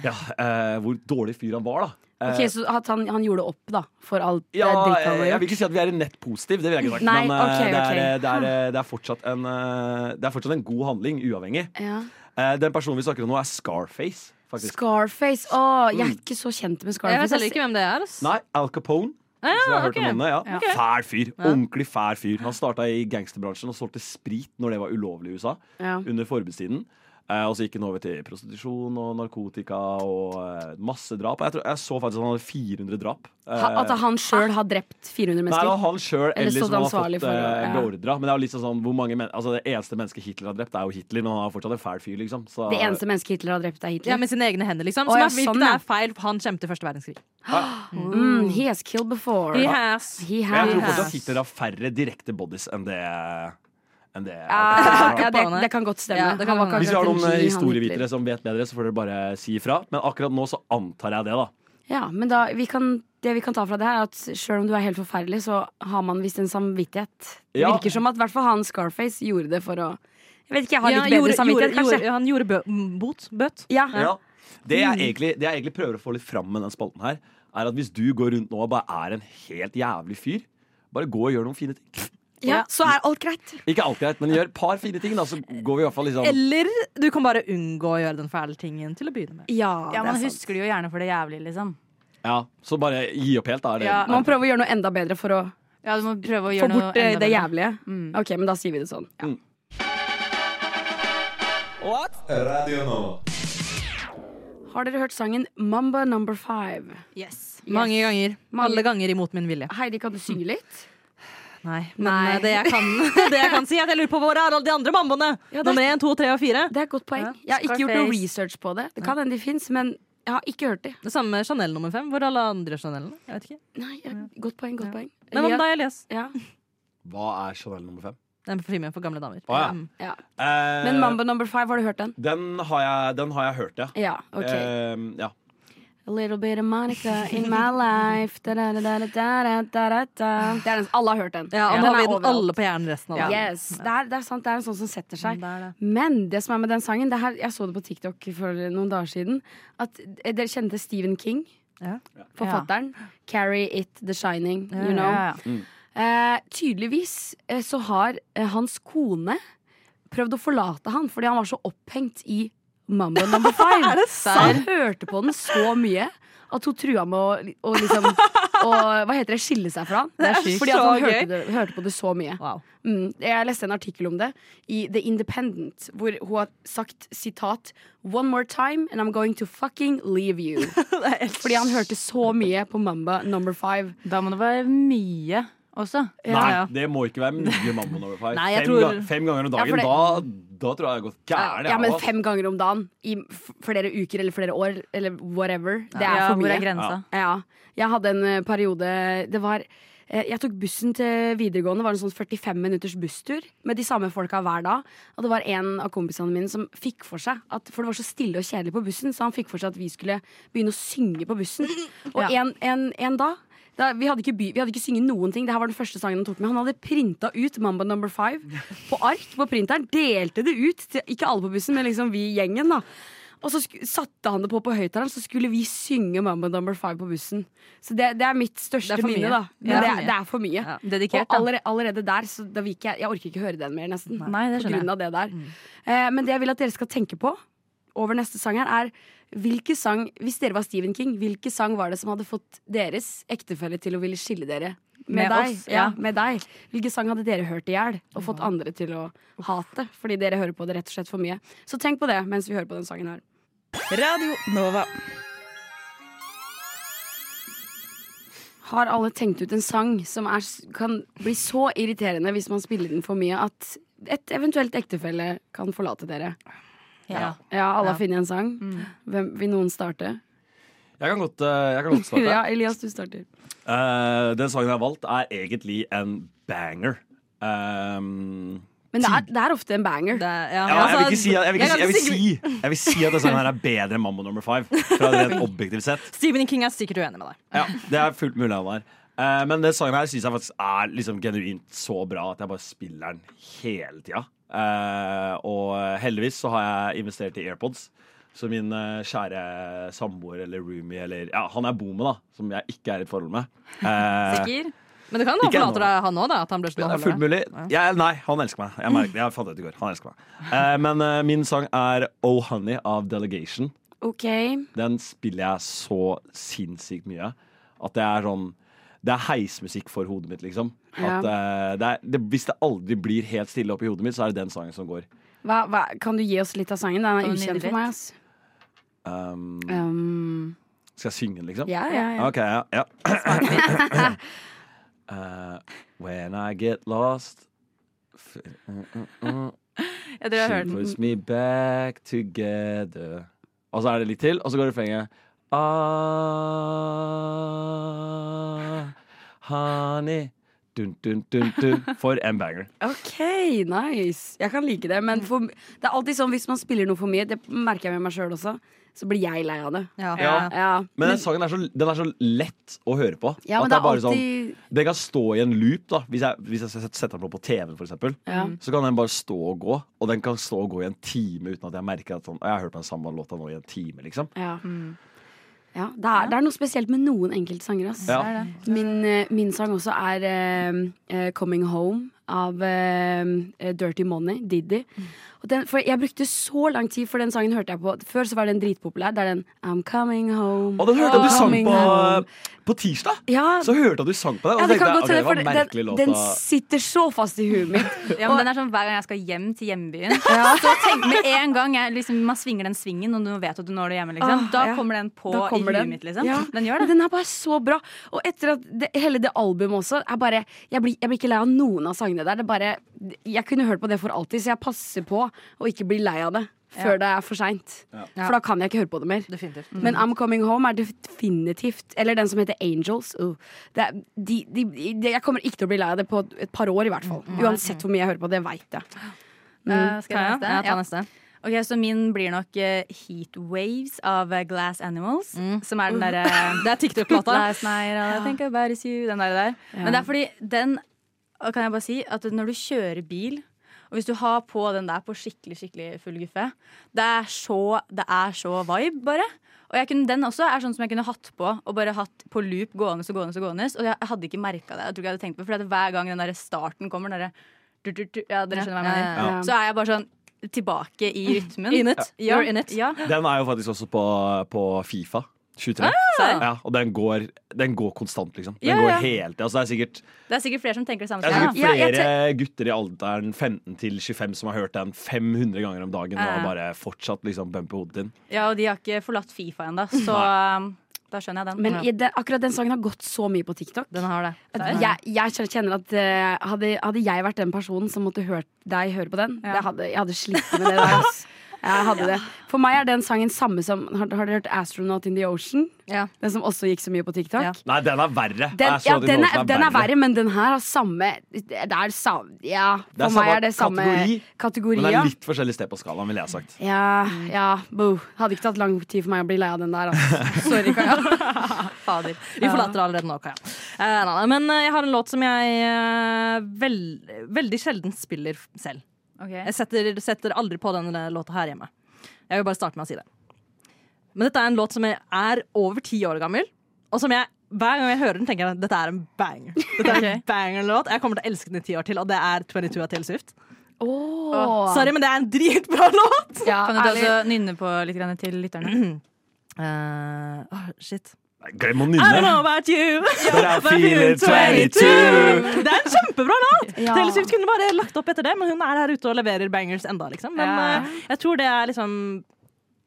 ja, eh, hvor dårlig fyr han var, da. Eh,
Ok, Så at han, han gjorde opp da for alt
ja,
det dritt han
eh,
har
jeg vil
gjort?
ikke si at vi er i nett positiv, det vil jeg ikke sagt.
Nei,
men eh,
ok,
det,
ok.
er, eh, det, er, eh, det, er fortsatt en, eh, det er fortsatt en god handling, uavhengig.
Ja.
Eh, Den personen vi snakker om nå er Scarface, faktisk. Mm.
Scarface. Å, jeg er ikke så kjent med
Jeg vet
Scarface.
heller ikke hvem det er. ass.
Nei, Al Capone.
Ah,
Hvis dere har
ja,
hørt om
ok.
henne, ja.
Ok.
Fæl fyr.
Ja.
Ordentlig fæl fyr. Han starta i gangsterbransjen og solgte sprit når det var ulovlig i USA.
Ja.
Under forbudstiden. Eh, og så gikk han over til prostitusjon og narkotika og eh, masse drap. Jeg, tror, jeg så faktisk at han hadde 400 drap. Eh,
Ha, at han sjøl har drept 400
Nei, det
mennesker?
var han sjøl eller
stått
som han har fått
ansvarlig for det,
eh,
ja.
beordra. Men det er jo litt sånn sånn hvor mange men altså, Det eneste mennesket Hitler har drept, er jo Hitler, men han er fortsatt en fæl fyr, liksom. Så,
Det eneste mennesket Hitler har drept, er Hitler?
Ja, Med sine egne hender, liksom.
Å,
Som
ja,
er, hvilket
sånn, ja.
er feil. Han kjempet i første verdenskrig.
mm, he has killed before.
He has.
He
Men jeg
has.
tror fortsatt Hitler har færre direkte bodies enn det, enn det
Ja, eh. ja, det,
Capone.
det kan godt stemme.
Ja, det kan
Han var
hende.
ikke
Hvis vi har
akkurat
noen
en
eh,
G, han
historievitere
Hitler.
som vet bedre, så får dere bare si ifra. Men akkurat nå så antar jeg det, da.
Ja, men da, vi kan, det vi kan ta fra det her, er at sjøl om du er helt forferdelig, så har man visst en samvittighet. Det
Ja.
virker som at i hvert fall han Scarface gjorde det for å Jeg vet ikke, jeg har
Ja,
litt bedre
gjorde-
samvittighet,
gjorde-
kanskje.
gjorde- Han gjorde bø bot. Bøt.
Ja. Mm.
Det, jeg egentlig, det jeg egentlig prøver å få litt fram med den spalten her, er at hvis du går rundt nå og bare er en helt jævlig fyr, bare gå og gjør noen fine ting.
Ja, så er alt greit.
Ikke alt greit, men gjør et par fine ting, da, så går vi i hvert fall liksom
Eller du kan bare unngå å gjøre den fæle tingen til å begynne med.
Ja, det
Ja, Man
er sant.
husker det jo gjerne for det jævlige, liksom.
Ja, så bare gi opp helt, da. Er det,
Ja,
Man prøver å gjøre noe enda bedre for å
Ja, du må prøve å
få
gjøre noe
bort eh,
enda
det
bedre.
jævlige. Ok, men da sier vi det sånn. Ja.
Radio Nova.
Har dere hørt sangen Mamba Number Five?
Yes.
Mange ganger.
Mange-
Alle ganger imot min vilje.
Heidi, kan du synge litt?
Nei, men
Nei.
eh, Det, jeg kan, det jeg kan si, er at jeg lurer på hvor er alle de andre mamboene?
Ja, det-
Nummer én, to, tre og fire.
Det er et godt poeng.
Ja.
Jeg har ikke gjort noe
Scarface.
research på det. Det kan hende de fins, men jeg har ikke hørt de.
Det samme med Chanel nummer fem. Hvor er alle andre Chanelene? Jeg vet ikke.
Nei, ja, Godt poeng, godt poeng.
Nei, men
Elias-
da jeg les.
ja.
Hva er Chanel nummer fem?
Det er en parfyme for gamle damer.
Å, ja.
Mm.
ja.
Eh,
Men Mamba Number Five, har du hørt den?
den, har jeg, den har jeg hørt, ja.
Ja, ok.
Eh, ja.
A little bit of Monica in my life da, da, da, da, da, da, da, da. Det er den, Alle har hørt den.
Ja, og
Den
nå har
er
vi den
overalt.
alle på hjernen resten av dagen. Mm.
Yes, det er, det er sant, det er en sånn som setter seg.
Det er det.
Men det som er med den sangen det her, Jeg så det på TikTok for noen dager siden. At eh, Dere kjente Stephen King,
Ja.
forfatteren. Carry it, The Shining. You know.
Ja, ja.
Eh, tydeligvis eh, så har eh, hans kone prøvd å forlate han fordi han var så opphengt i Mambo number five. så han hørte på den så mye at hun trua med å li- å liksom å, Hva heter det? Skille seg fra han.
Det er
Fordi at
så
han
gøy.
hørte, det, hørte på det så mye.
Wow.
Mm, jeg leste en artikkel om det i The Independent, hvor hun har sagt sitat One more time and I'm going to fucking leave you. Fordi han hørte så mye på Mamba number five.
Da må det være mye også.
Ja,
Nei,
ja.
det må ikke være mye mammon over pie.
Nei, jeg
fem,
tror-
ga- fem ganger om dagen,
Ja,
da, da tror jeg jeg har gått gæren.
ja,
jeg,
men
altså.
fem ganger om dagen i f- flere uker eller flere år eller whatever. Det er
ja,
for
hvor
mye.
er grensa?
Ja. Jeg hadde en eh, periode Det var eh, jeg tok bussen til videregående. Det var en sånn 45 minutters busstur med de samme folka hver dag. Og det var en av kompisene mine som fikk for seg at For det var så stille og kjedelig på bussen, så han fikk for seg at vi skulle begynne å synge på bussen. Og
Ja.
en, en, en dag da, vi, hadde ikke by, vi hadde ikke synget noen ting. Det her var den første sangen han tok med. Han hadde printa ut Mamba Number Five på ark på printeren. Delte det ut til ikke alle på bussen, men liksom vi i gjengen. da og så sku, satte han det på på høyttaleren, så skulle vi synge Mambo Number Five på bussen. Så det, det er mitt største
Det er for
minne,
mye.
da. Men
Det
det,
er
er,
for mye.
det er for mye.
Ja.
Dedikert,
Og
da.
allerede, allerede der, så da vil ikke jeg Jeg orker ikke høre den mer, nesten.
Nei, det
på
skjønner
grunn av det
Mm.
der. Eh, men det jeg vil at dere skal tenke på over neste sang her, er hvilke sang Hvis dere var Stephen King, hvilke sang var det som hadde fått deres ektefelle til å ville skille dere? Med,
Med
deg,
oss,
ja.
ja.
med deg. Hvilke sang hadde dere hørt i hjel og fått andre til å hate? Fordi dere hører på det rett og slett for mye. Så tenk på det mens vi hører på den sangen her.
Radio Nova.
Har alle tenkt ut en sang som er, kan bli så irriterende hvis man spiller den for mye at et eventuelt ektefelle kan forlate dere?
Ja.
Ja, Mm. alle har funnet en sang. Hvem, vil noen starte?
jeg kan godt, eh, jeg kan godt starte.
Ja, Elias, du starter.
Eh, den sangen jeg har valgt, er egentlig en banger. Ehm,
Men det er, det er ofte en banger.
Det er- altså,
ja, jeg vil ikke si at, jeg vil ikke,
jeg
si- jeg
kan
vil
sikkert-
si, jeg vil si at den sangen her er bedre enn Mambo Number Five. Fra det rent objektivt sett.
Stephen King er sikkert uenig med deg.
Ja, det er fullt mulig han er. Eh, men den sangen her syns jeg faktisk er liksom genuint så bra at jeg bare spiller den hele tida. Eh, og heldigvis så har jeg investert i AirPods. Så min eh, kjære samboer eller roomie eller Ja, han jeg bor med, da. Som jeg ikke er i et forhold med. Eh,
Sikker?
Men det kan han
Ikke
forlater
ennå.
deg, han òg, at han blir
Det
sånn
er fullt mulig. Jeg, nei, han elsker meg. Jeg, merker, jeg fant det ut i går. Han elsker meg. Eh, men eh, min sang er Oh Honey av Delegation.
Ok.
Den spiller jeg så sinnssykt mye at det er sånn Det er heismusikk for hodet mitt, liksom. At, eh, det er, det, hvis det aldri blir helt stille oppi hodet mitt, så er det den sangen som går.
Hva, hva, kan du gi oss litt av sangen? Den er
Kan du
ukjent
nynne
for
litt?
meg. Ass.
Um,
Um,
skal jeg synge den, liksom?
ja, ja, ja.
Ok, ja. ja. Eh, when I get lost f
Jeg tror jeg har hørt
She
den.
puts me back together. Og så er det litt til, og så går refrenget. Ah, honey. Dun, dun, dun, dun. For en banger.
Ok, nice. Jeg kan like det. Men for, det er alltid sånn hvis man spiller noe for mye, det merker jeg med meg sjøl også, så blir jeg lei av det.
Ja.
Ja.
Ja,
Men den sangen er så, den er så lett å høre på.
ja
At
men
det
det
er
er
bare
alltid
sånn Den kan stå i en loop, da. Hvis jeg, hvis jeg set- setter den på på TV-en, for eksempel.
ja.
Så kan den bare stå og gå, og den kan stå og gå i en time uten at jeg merker at sånn, «Å, jeg har hørt på den samme låta nå i en time, liksom.
Ja. Ja, det, er, det er noe spesielt med noen enkelte sanger. Ass.
Ja.
Min, eh, min sang også er eh, eh, 'Coming Home' av eh, eh, Dirty Money, Diddy. Og den, for jeg brukte så lang tid, for den sangen hørte jeg på Før så var den dritpopulær. Det er den 'I'm coming home'.
Og den hørte jeg
I'm
du sang
coming
på,
home».
på tirsdag!
Ja,
Så hørte jeg at du sang på den. Og
ja,
så
det
tenkte
kan
jeg,
godt
ok,
hende,
det var
for
en merkelig
den,
låt.
den
da.
sitter så fast i huet mitt.
Ja, men den er sånn Hver gang jeg skal hjem til hjembyen, så tenk med en gang jeg, liksom, Man svinger den svingen, og du vet at du når det hjemme. Liksom.
Ah,
Da
ja.
kommer den på
Da
i
kommer
huet
den.
mitt. Liksom.
Ja.
Den gjør
Men
det.
Den er bare så bra. Og etter at det, hele det albumet også er bare, jeg, blir, jeg blir ikke lei av noen av sangene der. Det er bare, jeg kunne hørt på det for alltid, så jeg passer på å ikke bli lei av det før det er for seint. For da kan jeg ikke høre på det mer.
Definitivt.
Mm.
Men I'm Coming Home er definitivt Eller den som heter Angels. Uh, det er, de, de, de, jeg kommer ikke til å bli lei av det på et par år, i hvert fall.
Mm.
Uansett hvor mye jeg hører på det, veit Mm. jeg.
Eh, skal jeg
Ja,
ta neste?
jeg
Ja.
tar neste.
Ok, Så min blir nok eh, Heat Waves av eh, Glass Animals.
Mm.
Som er den derre
Det er TikTok-plata.
Last night, all I think about is you. Den der, der. Men det er fordi den og Kan jeg bare si at når du kjører bil og hvis du har på den der på skikkelig skikkelig full guffe Det er så, det er så vibe, bare. Og jeg kunne, den også er sånn som jeg kunne hatt på og bare hatt på loop gående og gående. Og gående Og jeg hadde ikke merka det. Jeg tror ikke jeg hadde tenkt på det, For hver gang den der starten kommer, den der, du, du, du, ja, dere skjønner hva jeg mener,
Ja.
så er jeg bare sånn tilbake i rytmen.
In it.
Ja.
You're in it.
Ja.
Den er jo faktisk også på, på Fifa 23.
Ah!
Ja, og den går, den går konstant, liksom. Den
Ja,
går
ja.
hele tida. Altså, det er sikkert,
Det er sikkert flere som tenker det samme.
det er sikkert
som meg,
Ja, jeg
flere gutter i alderen 15 til 25 som har hørt den 500 ganger om dagen og har
Ja.
bare fortsatt liksom bumper hodet ditt.
da. Ja, Og de har ikke forlatt Fifa ennå, så um, Da skjønner jeg den.
Men i det, akkurat den sangen har gått så mye på TikTok.
Den har det.
At jeg, jeg kjenner at eh, hadde, hadde jeg vært den personen som måtte hørt deg høre på den,
Ja.
det hadde, jeg hadde slitt med det der. ass. Jeg hadde det. For meg er den sangen samme som Har, har dere hørt 'Astronaut in the Ocean'?
Ja.
Den som også gikk så mye på TikTok?
Ja.
Nei, den er verre.
Den,
Jeg så
ja,
at
den, er,
låten
den er verre, men den her har samme Det er samme Ja,
Det er
for meg
samme
er det samme
kategori,
kategori
Men det
ja.
er litt forskjellig sted på skalaen, ville jeg ha sagt.
Ja, ja, bo. Hadde ikke tatt lang tid for meg å bli lei av den der. altså. ass. Sorry, Kaja.
Fader.
Vi forlater det allerede nå, Kaja. Eh, nei, nei, men eh, jeg har en låt som jeg eh, vel, veldig sjelden spiller f- selv. Jeg setter, setter aldri på denne låta her hjemme. Jeg vil bare starte med å si det. Men dette er en låt som jeg er over ti år gammel, og som jeg hver gang jeg hører den, tenker jeg at dette er en banger. Dette er en banger-låt. Jeg kommer til å elske den i ti år til, og det er 22 av Taylor Swift.
Åh.
Sorry, men det er en dritbra låt!
Ja,
Kan du
ærlig.
også nynne på litt grann til lytterne?
Eh, åh, shit.
Nei, Glem å
I
nynne.
don't know about you,
But I
but
feel
you're
it 22.
22. Det er en kjempebra låt!
Ja.
Taylor Swift kunne bare lagt opp etter det, men hun er her ute og leverer bangers enda, liksom. Men
Ja.
eh, jeg tror det er liksom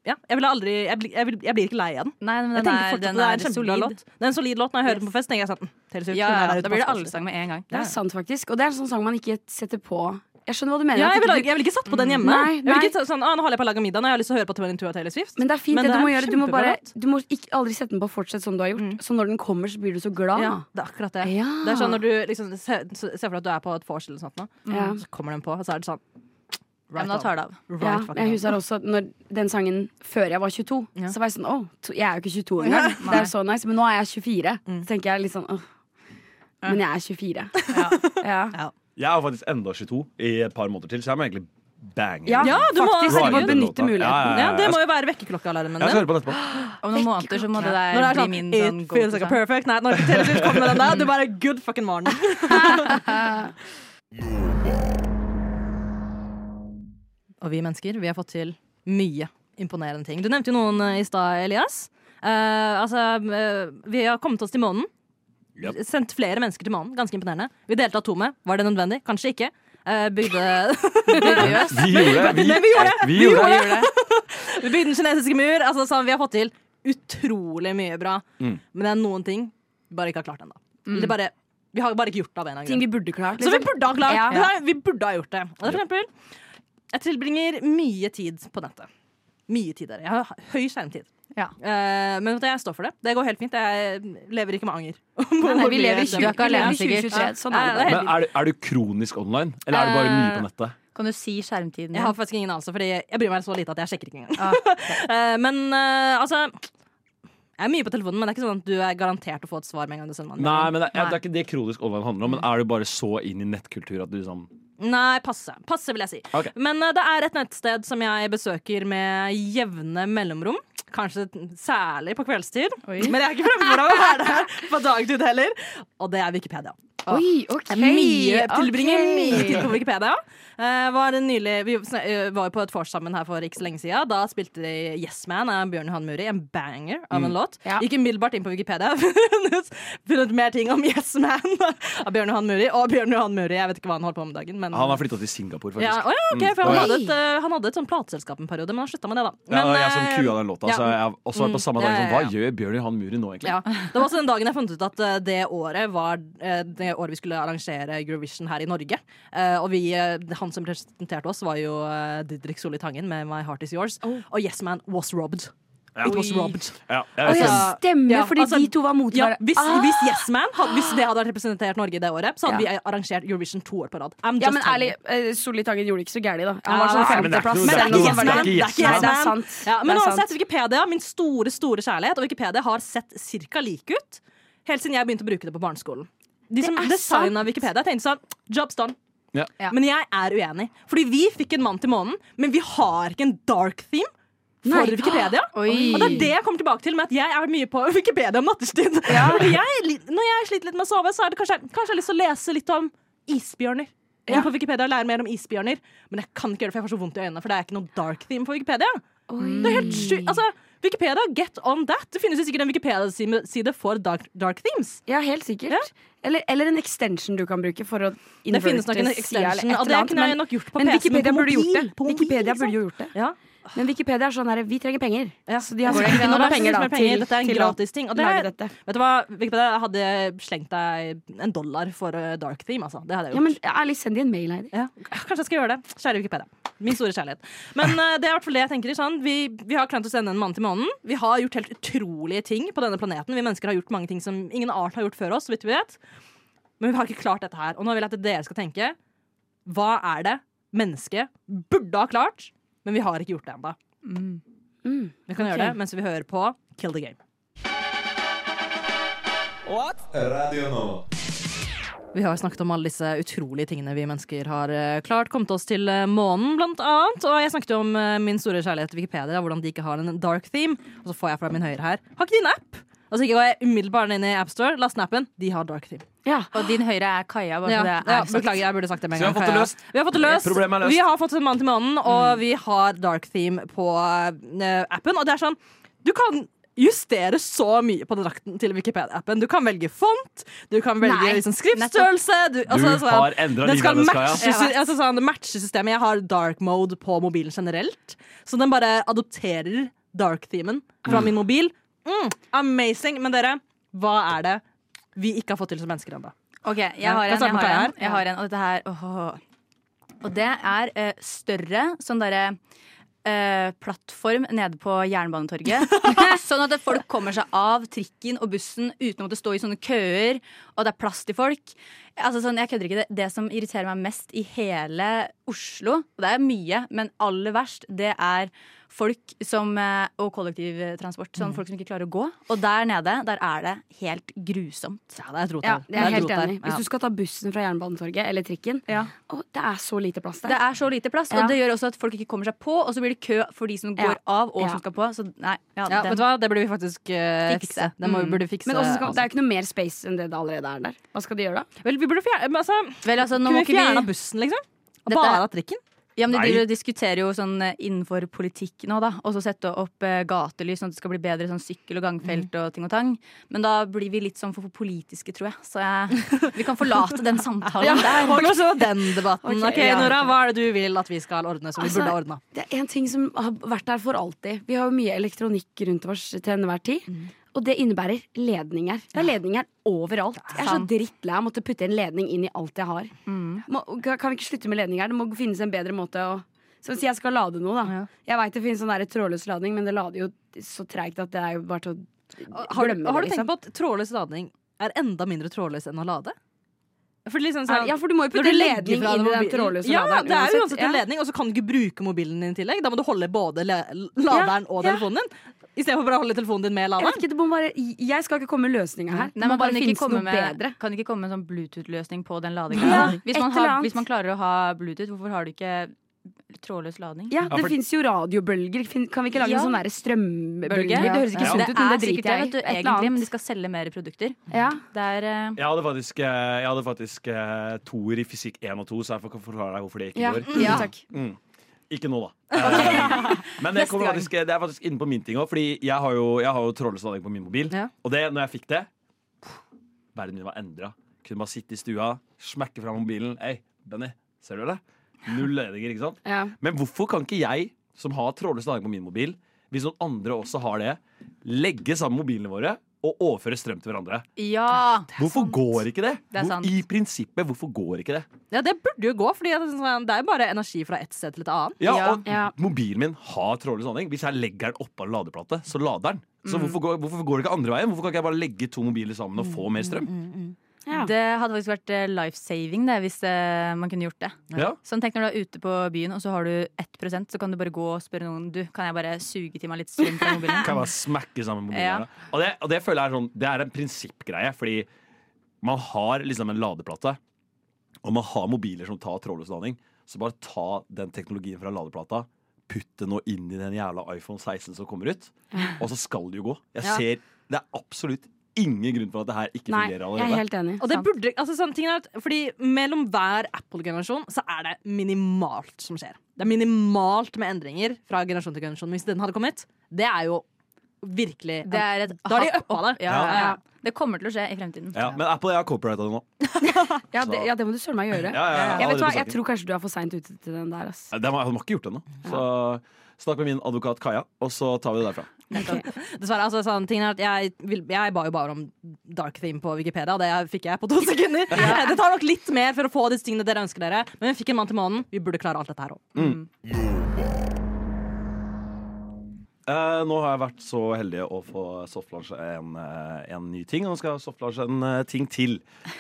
ja, jeg, ville aldri, jeg, bli, jeg, vil, jeg blir ikke lei av den.
Nei, men
Jeg
den
tenker
er,
fortsatt at
den er,
det er en kjempebra
solid.
låt. Det er en solid låt. Når jeg hører den på fest, tenker jeg sånn mm, Taylor Swift.
Ja,
hun er
ja,
her ute
da blir det
på fest.
allsang med en gang.
Det er sant, faktisk. Og det er en sånn sang man ikke setter på. Jeg skjønner hva du mener.
Ja,
at
jeg
ikke
ville
du-
jeg vil ikke satt på den hjemme.
Nei,
Jeg vil
nei.
ikke ta- sånn, ah, Nå holder jeg på å lage middag, nå har jeg lyst til å høre på 22 av Taylor Swift.
Men det er fint,
Men
det,
det
du
er
må gjøre. Du må,
kjempebra
bare,
låt.
du må ikke, aldri sette den på. Fortsett som du har gjort. Så når den kommer, så blir du så glad.
Ja, det er akkurat det.
Ja.
Det er sånn når du liksom, se, se se for deg at du er på et vors eller sånt nå,
Ja.
Mm. så kommer den på, og så er det sånn
Ja, men da tar det av.
Right
Ja,
fucking
jeg
on.
husker også at når den sangen før jeg var 22,
Ja.
så var jeg sånn Å, to- jeg er jo ikke 22 engang. Det er så nice. Men nå er jeg 24.
Mm.
Så tenker jeg litt sånn Åh. Men jeg er 24. Ja, ja.
Jeg er faktisk enda 22 i et par måneder til, så jeg må egentlig bange.
ja,
Ja, du må-
faktisk.
Ride
Du må
den
benytte
låta.
muligheten.
Ja,
Ja,
ja,
det
ja.
må jo være
Jeg
vekkerklokkealarmen
skal
din.
høre på den etterpå.
Om noen måneder så må det der
Når det er
bli
sånn
min sånn
It feels like a
go-to-sang.
perfect night Når Taylor Swift kommer med den der, du bare good fucking morning. Og vi mennesker, vi har fått til mye imponerende ting. Du nevnte jo noen eh, i stad, Elias. Eh, altså, eh, vi har kommet oss til månen.
Yep.
Sendt flere mennesker til månen. Ganske imponerende. Vi delte atomet. Var det nødvendig? Kanskje ikke. Eh, bygde
Vi gjorde det.
Men vi gjorde det.
Vi
Vi
gjorde det.
gjorde det. Vi bygde den kinesiske mur. Altså, sånn, vi har fått til utrolig mye bra.
Mm.
Men det er noen ting vi bare ikke har klart ennå. Eller bare- Vi har bare ikke gjort det av en eller annen
Ting
grunn.
vi burde klart.
Så vi
liksom.
burde ha klart
Ja.
det der, Vi burde ha gjort det. Og det er for eksempel, jeg tilbringer mye tid på nettet. Mye tid der. Jeg har høy skjermtid.
Ja.
Eh, men vet du, jeg står for det. Det går helt fint. Jeg lever ikke med anger.
Nei, nei, vi lever i
Du er
20
ikke
vi lever i
alene, sikkert.
2023. Sånn er det.
Ja, det
bare.
Men er du, er du kronisk online, eller er du bare mye på nettet?
Kan du si skjermtiden?
Jeg har faktisk ingen anelse, fordi jeg bryr meg så lite at jeg sjekker ikke engang.
Ah,
Eh, men eh, altså Jeg er mye på telefonen, men det er ikke sånn at du er garantert å få et svar med en gang du sender meg en
Nei,
melding.
men det, er- det er ikke det kronisk online handler om, men er du bare så inn i nettkultur at du liksom
Mm. Nei, passe. Passe, vil jeg si.
Ok.
Men eh, det er et nettsted som jeg besøker med jevne mellomrom. Kanskje særlig på kveldstid.
Oi.
Men jeg er ikke fremme for å være der på dagtid heller. Og det er Wikipedia.
Oi, ok.
Jeg mye, tilbringer
ok.
mye tid på Wikipedia. Eh, var nylig, vi sn- eh, var jo på et vors sammen her for ikke så lenge siden. Da spilte de Yes Man av Bjørn Johan Muri, en banger av en låt.
Mm. Ja.
Gikk umiddelbart inn på Wikipedia funnet, funnet mer ting om Yes Man av Bjørn Johan Muri. Og Bjørn Johan Muri, jeg vet ikke hva han holder på med om dagen. Men,
Han har flytta til Singapore, faktisk.
ja, å ja, ok, for
Mm.
han,
Oi.
hadde et, eh, han hadde et sånt plateselskap en periode, men han slutta med det, da.
Ja, det var jeg som
eh,
kua den låta, Altså,
ja.
så jeg har også vært på samme dag
Ja,
sånn,
ja,
Hva
ja.
gjør Bjørn Johan Muri nå, egentlig?
Ja. Det var også den dagen jeg fant ut at eh, det året var eh, det året vi skulle arrangere Eurovision her i Norge. Eh, og vi, eh, han som presenterte oss, var jo eh, Didrik Solli Tangen med My Heart Is Yours. Og Yes Man was robbed. It was robbed.
Ja, jeg
Å
vet
ja,
ikke.
Altså,
stemmer,
ja,
fordi
altså,
de to var mot
Ja,
hverandre.
hvis,
Ah!
hvis Yes Man hadde, hvis det hadde vært representert Norge det året, så hadde
Ja.
vi arrangert Eurovision to år på rad. I'm
Ja,
just
men
telling
ærlig,
you.
eh, Solli Tangen gjorde ikke så gærent, da.
Ja,
Han var sånn
nei,
men det er ikke
femteplass.
noe-
Men det er
noe- det er
ikke Yes Man.
ikke
Det er
Yes
ikke
Nei,
Yes
det er
Man.
sant.
Ja, men
Det er
uansett,
sant.
Wikipedia, min store store kjærlighet, og Wikipedia har sett cirka like ut helt siden jeg begynte å bruke det på barneskolen. De som
er
designa
sant.
Wikipedia, tenkte sånn Job's done.
Ja.
Ja.
Men jeg er uenig. Fordi vi fikk en mann til månen, men vi har ikke en dark theme. For
Nei.
Wikipedia.
Oi.
Og det er det jeg kommer tilbake til med at jeg er mye på Wikipedia om nattestid. Og jeg, li- når jeg sliter litt med å sove, så er det kanskje, kanskje jeg har lyst til å lese litt om isbjørner. Jeg er på Wikipedia og lærer mer om isbjørner, men jeg kan ikke gjøre det, for jeg får så vondt i øynene. For det er ikke noe dark theme på Wikipedia. Det er helt sjukt. Altså, Wikipedia, get on that. Det finnes jo sikkert en Wikipedia-side for dark, dark themes.
Ja, helt sikkert. Eller, eller en extension du kan bruke for å
Det finnes nok en
inverte sida eller
extension,
et
og
eller
det
annet,
kunne jeg
men-
nok gjort på
Men
PC-en
Wikipedia
på
burde gjort
mobil.
det.
På mobil,
Wikipedia
liksom.
burde jo gjort det.
Ja.
Men Wikipedia er sånn her, vi trenger penger.
Ja.
Så de har
Går det
sikkert
ikke an å
nok
lage
penger,
så
da,
mye penger?
til-
Dette er en
til å
gratis ting, og det-
lage dette.
Vet du hva, Wikipedia, jeg hadde slengt deg en dollar for eh, dark theme, altså. Det hadde jeg
Ja,
gjort.
men ærlig, send de en mail, Heidi.
Ja, kanskje jeg skal gjøre det. Kjære Wikipedia. Min store kjærlighet. Men eh, det er i hvert fall det jeg tenker. Sånn. Vi, vi har klart å sende en mann til månen. Vi har gjort helt utrolige ting på denne planeten. Vi mennesker har gjort mange ting som ingen art har gjort før oss. så Vidt vi vet. Men vi har ikke klart dette her. Og nå vil jeg at dere skal tenke. Hva er det mennesket burde ha klart, men vi har ikke gjort det ennå?
Mm.
Vi kan
Ok.
gjøre det mens vi hører på Kill the Game.
What? Radio Nova.
Vi har snakket om alle disse utrolige tingene vi mennesker har eh, klart. Kommet oss til eh, månen, blant annet. Og jeg snakket jo om eh, min store kjærlighet Wikipedia, hvordan de ikke har en dark theme. Og så får jeg fra min høyre her Har ikke de en app? Altså ikke går jeg umiddelbart inn i AppStore, last appen. De har dark theme.
Ja.
Og din høyre er Kaja. Bare
Ja,
så det er
ja,
sagt.
beklager, jeg burde sagt det med en
Så vi
gang.
har fått det
Kaja.
løst.
Vi har fått det løst.
Problemet er løst.
Vi har fått en mann til månen, og vi har dark theme på eh, appen. Og det er sånn Du kan justere så mye på drakten til Wikipedia-appen. Du kan velge font, du kan velge
Nei,
liksom, skriftstørrelse du, altså,
du
sånn-
har endra
den
livet
skal
hennes, Kaja.
matche, altså sånn, det matcher systemet. Jeg har dark mode på mobilen generelt. Så den bare adopterer dark-themen fra min mobil. Mm, amazing. Men dere, hva er det vi ikke har fått til som mennesker ennå?
Ok, jeg
Ja, kan
har en,
starte
jeg
med
har
Kaja
en,
her.
jeg har en og dette her åh. Og det er eh, større sånn derre eh, plattform nede på Jernbanetorget. sånn at folk kommer seg av trikken og bussen uten å måtte stå i sånne køer, og det er plass til folk. Altså sånn, jeg kødder ikke det, det som irriterer meg mest i hele Oslo, og det er mye, men aller verst, det er folk som, eh, og kollektivtransport.
Mm.
Sånn, Folk som ikke klarer å gå. Og der nede, der er det helt grusomt.
Ja, det er et rot
Ja,
her.
jeg er
et
helt
rot her.
enig. Hvis
Ja.
du skal ta bussen fra Jernbanetorget eller trikken
Ja.
Å, det er så lite plass der.
Det er så lite plass,
Ja.
og det gjør også at folk ikke kommer seg på. Og så blir det kø for de som går
Ja.
av og
Ja.
som skal på. Så nei, ja,
Ja,
den-
vet du hva? Det burde vi faktisk eh,
Fikse.
fikse. Det må vi
Mm.
burde fikse
Men også skal,
altså.
det er jo ikke noe mer space enn det det allerede er der. Hva skal de gjøre da?
Vel, vi burde fjerne men altså,
Vel, altså, nå
Kunne
må
vi
ikke
fjerne
vi
bussen, liksom?
Dette-
Bare av trikken?
ja, men De
Nei.
driver og diskuterer jo sånn eh, innenfor politikk nå, da. Og så sette opp eh, gatelys, sånn at det skal bli bedre sånn sykkel- og gangfelt og ting og tang. Men da blir vi litt sånn for politiske, tror jeg. Så jeg, vi kan forlate den samtalen der.
Og så den
Ok,
debatten. Ok,
ja.
Nora, hva er det du vil at vi skal ordne som vi
Altså,
burde ha ordna?
Det er én ting som har vært der for alltid. Vi har jo mye elektronikk rundt oss til enhver tid.
Mm.
Og det innebærer ledninger. Det er ledninger overalt. Jeg er så
sant.
drittlei av å måtte putte en ledning inn i alt jeg har.
Mm.
Må, kan kan vi ikke slutte med ledninger? Det må finnes en bedre måte å Som hvis jeg skal lade noe, da.
Ja.
Jeg veit det finnes sånn der trådløs lading, men det lader jo så treigt at det er jo bare til å
Har,
glemme
har du
det, liksom.
tenkt på at trådløs lading er enda mindre trådløs enn å lade? For liksom sånn,
Ja, for du må jo
når
putte
du
en
legger
ledning
fra
inn
deg
i den
mobilen-
trådløse
ja,
laderen.
det er jo
uansett.
uansett en
Ja.
ledning, og så kan du ikke bruke mobilen din i tillegg. Da må du holde både le laderen og
ja.
telefonen din. Istedenfor bare å holde telefonen din med
Jeg vet
laderen.
ikke, det må bare Jeg skal ikke komme med løsninga her.
Nei,
det
man
må bare
kan ikke,
finnes
komme
noe
med,
bedre.
kan ikke komme med en sånn Bluetooth-løsning på den ladingen.
Ja,
hvis, man
et eller
har,
annet.
hvis man klarer å ha Bluetooth, hvorfor har du ikke trådløs lading?
Ja,
Ja,
det
for-
finnes jo radiobølger. Fin- Kan vi ikke lage
Ja.
en sånn der strømbølge?
Ja.
Det høres ikke
Ja.
sunt ut, men det
sikkert
driter jeg
vet du,
i. Et eller
egentlig, men
annet.
de skal selge mer produkter.
Ja.
Det er eh,
Jeg hadde faktisk, eh, jeg hadde faktisk eh, toer i fysikk 1 og 2, så jeg får forklare deg hvorfor det ikke
Ja.
går.
ja, takk.
Mm. Ikke nå, da. Eh, Men det, kommer faktisk, det er faktisk inne på min ting òg, Fordi jeg har jo, jeg har jo trådløs lading på min mobil.
Ja.
Og det, når jeg fikk det Verden min var endra. Kunne bare sitte i stua, smekke fra mobilen. Hei, Benny, ser du det? Null ledninger, ikke sant?
Ja.
Men hvorfor kan ikke jeg, som har trådløs lading på min mobil, hvis noen andre også har det, legge sammen mobilene våre og overføre strøm til hverandre?
Ja!
Hvorfor går ikke det?
Det er
Hvor-
sant.
I prinsippet, hvorfor går ikke det?
Ja, det burde jo gå, for det er jo bare energi fra ett sted til et annet.
Ja,
Ja.
og
Ja.
mobilen min har trådløs lading. Hvis jeg legger den oppå en ladeplate, så lader den. Så hvorfor går, hvorfor går det ikke andre veien? Hvorfor kan ikke jeg bare legge to mobiler sammen og få mer strøm?
Ja.
Det hadde faktisk vært eh, life-saving det, hvis eh, man kunne gjort det.
Ja.
Sånn, tenk når du er ute på byen og så har du 1 så kan du bare gå og spørre noen Du, kan jeg bare suge til meg litt strøm fra
Kan jeg
mobilen?
bare smekke sammen mobilen
Ja.
her, da? Og, det, og det føler jeg er sånn Det er en prinsippgreie, fordi man har liksom en ladeplate, og man har mobiler som tar trådløs lading, så bare ta den teknologien fra ladeplata, putt det nå inn i den jævla iPhone 16 som kommer ut, og så skal det jo gå. Jeg
Ja.
ser Det er absolutt ingen grunn for at det her ikke
Nei,
fungerer
jeg er
allerede.
helt enig.
Og det burde, altså sånn, tingen er at, fordi Mellom hver Apple-generasjon Så er det minimalt som skjer. Det er minimalt med endringer fra generasjon til generasjon. Hvis den hadde kommet, det er jo virkelig
Det er et
Da er de
hakk
uppa
opp.
det.
Ja,
Ja.
ja. ja. Det kommer til å skje i fremtiden.
Ja, men Apple, jeg har copyrighta det nå.
Ja, det, ja, det må du søren meg gjøre.
Ja, ja, ja,
Jeg, vet
allerede
hva,
på
jeg
saken.
tror kanskje du er for seint ute til den der. Ass.
De har, de har ikke gjort det ennå. Så, Snakk med min advokat Kaja, og så tar vi det derfra.
Dessverre, altså, sånn, tingen er at jeg, vil, jeg ba jo bare om dark theme på Wikipedia, og det fikk jeg på to sekunder. Det tar nok litt mer for å få disse tingene dere ønsker dere, men vi fikk en mann til månen. Vi burde klare alt dette her òg.
Mm.
Eh, nå har jeg vært så heldig å få softlaunche en, eh, en ny ting, og nå skal jeg softlaunche en eh, ting til.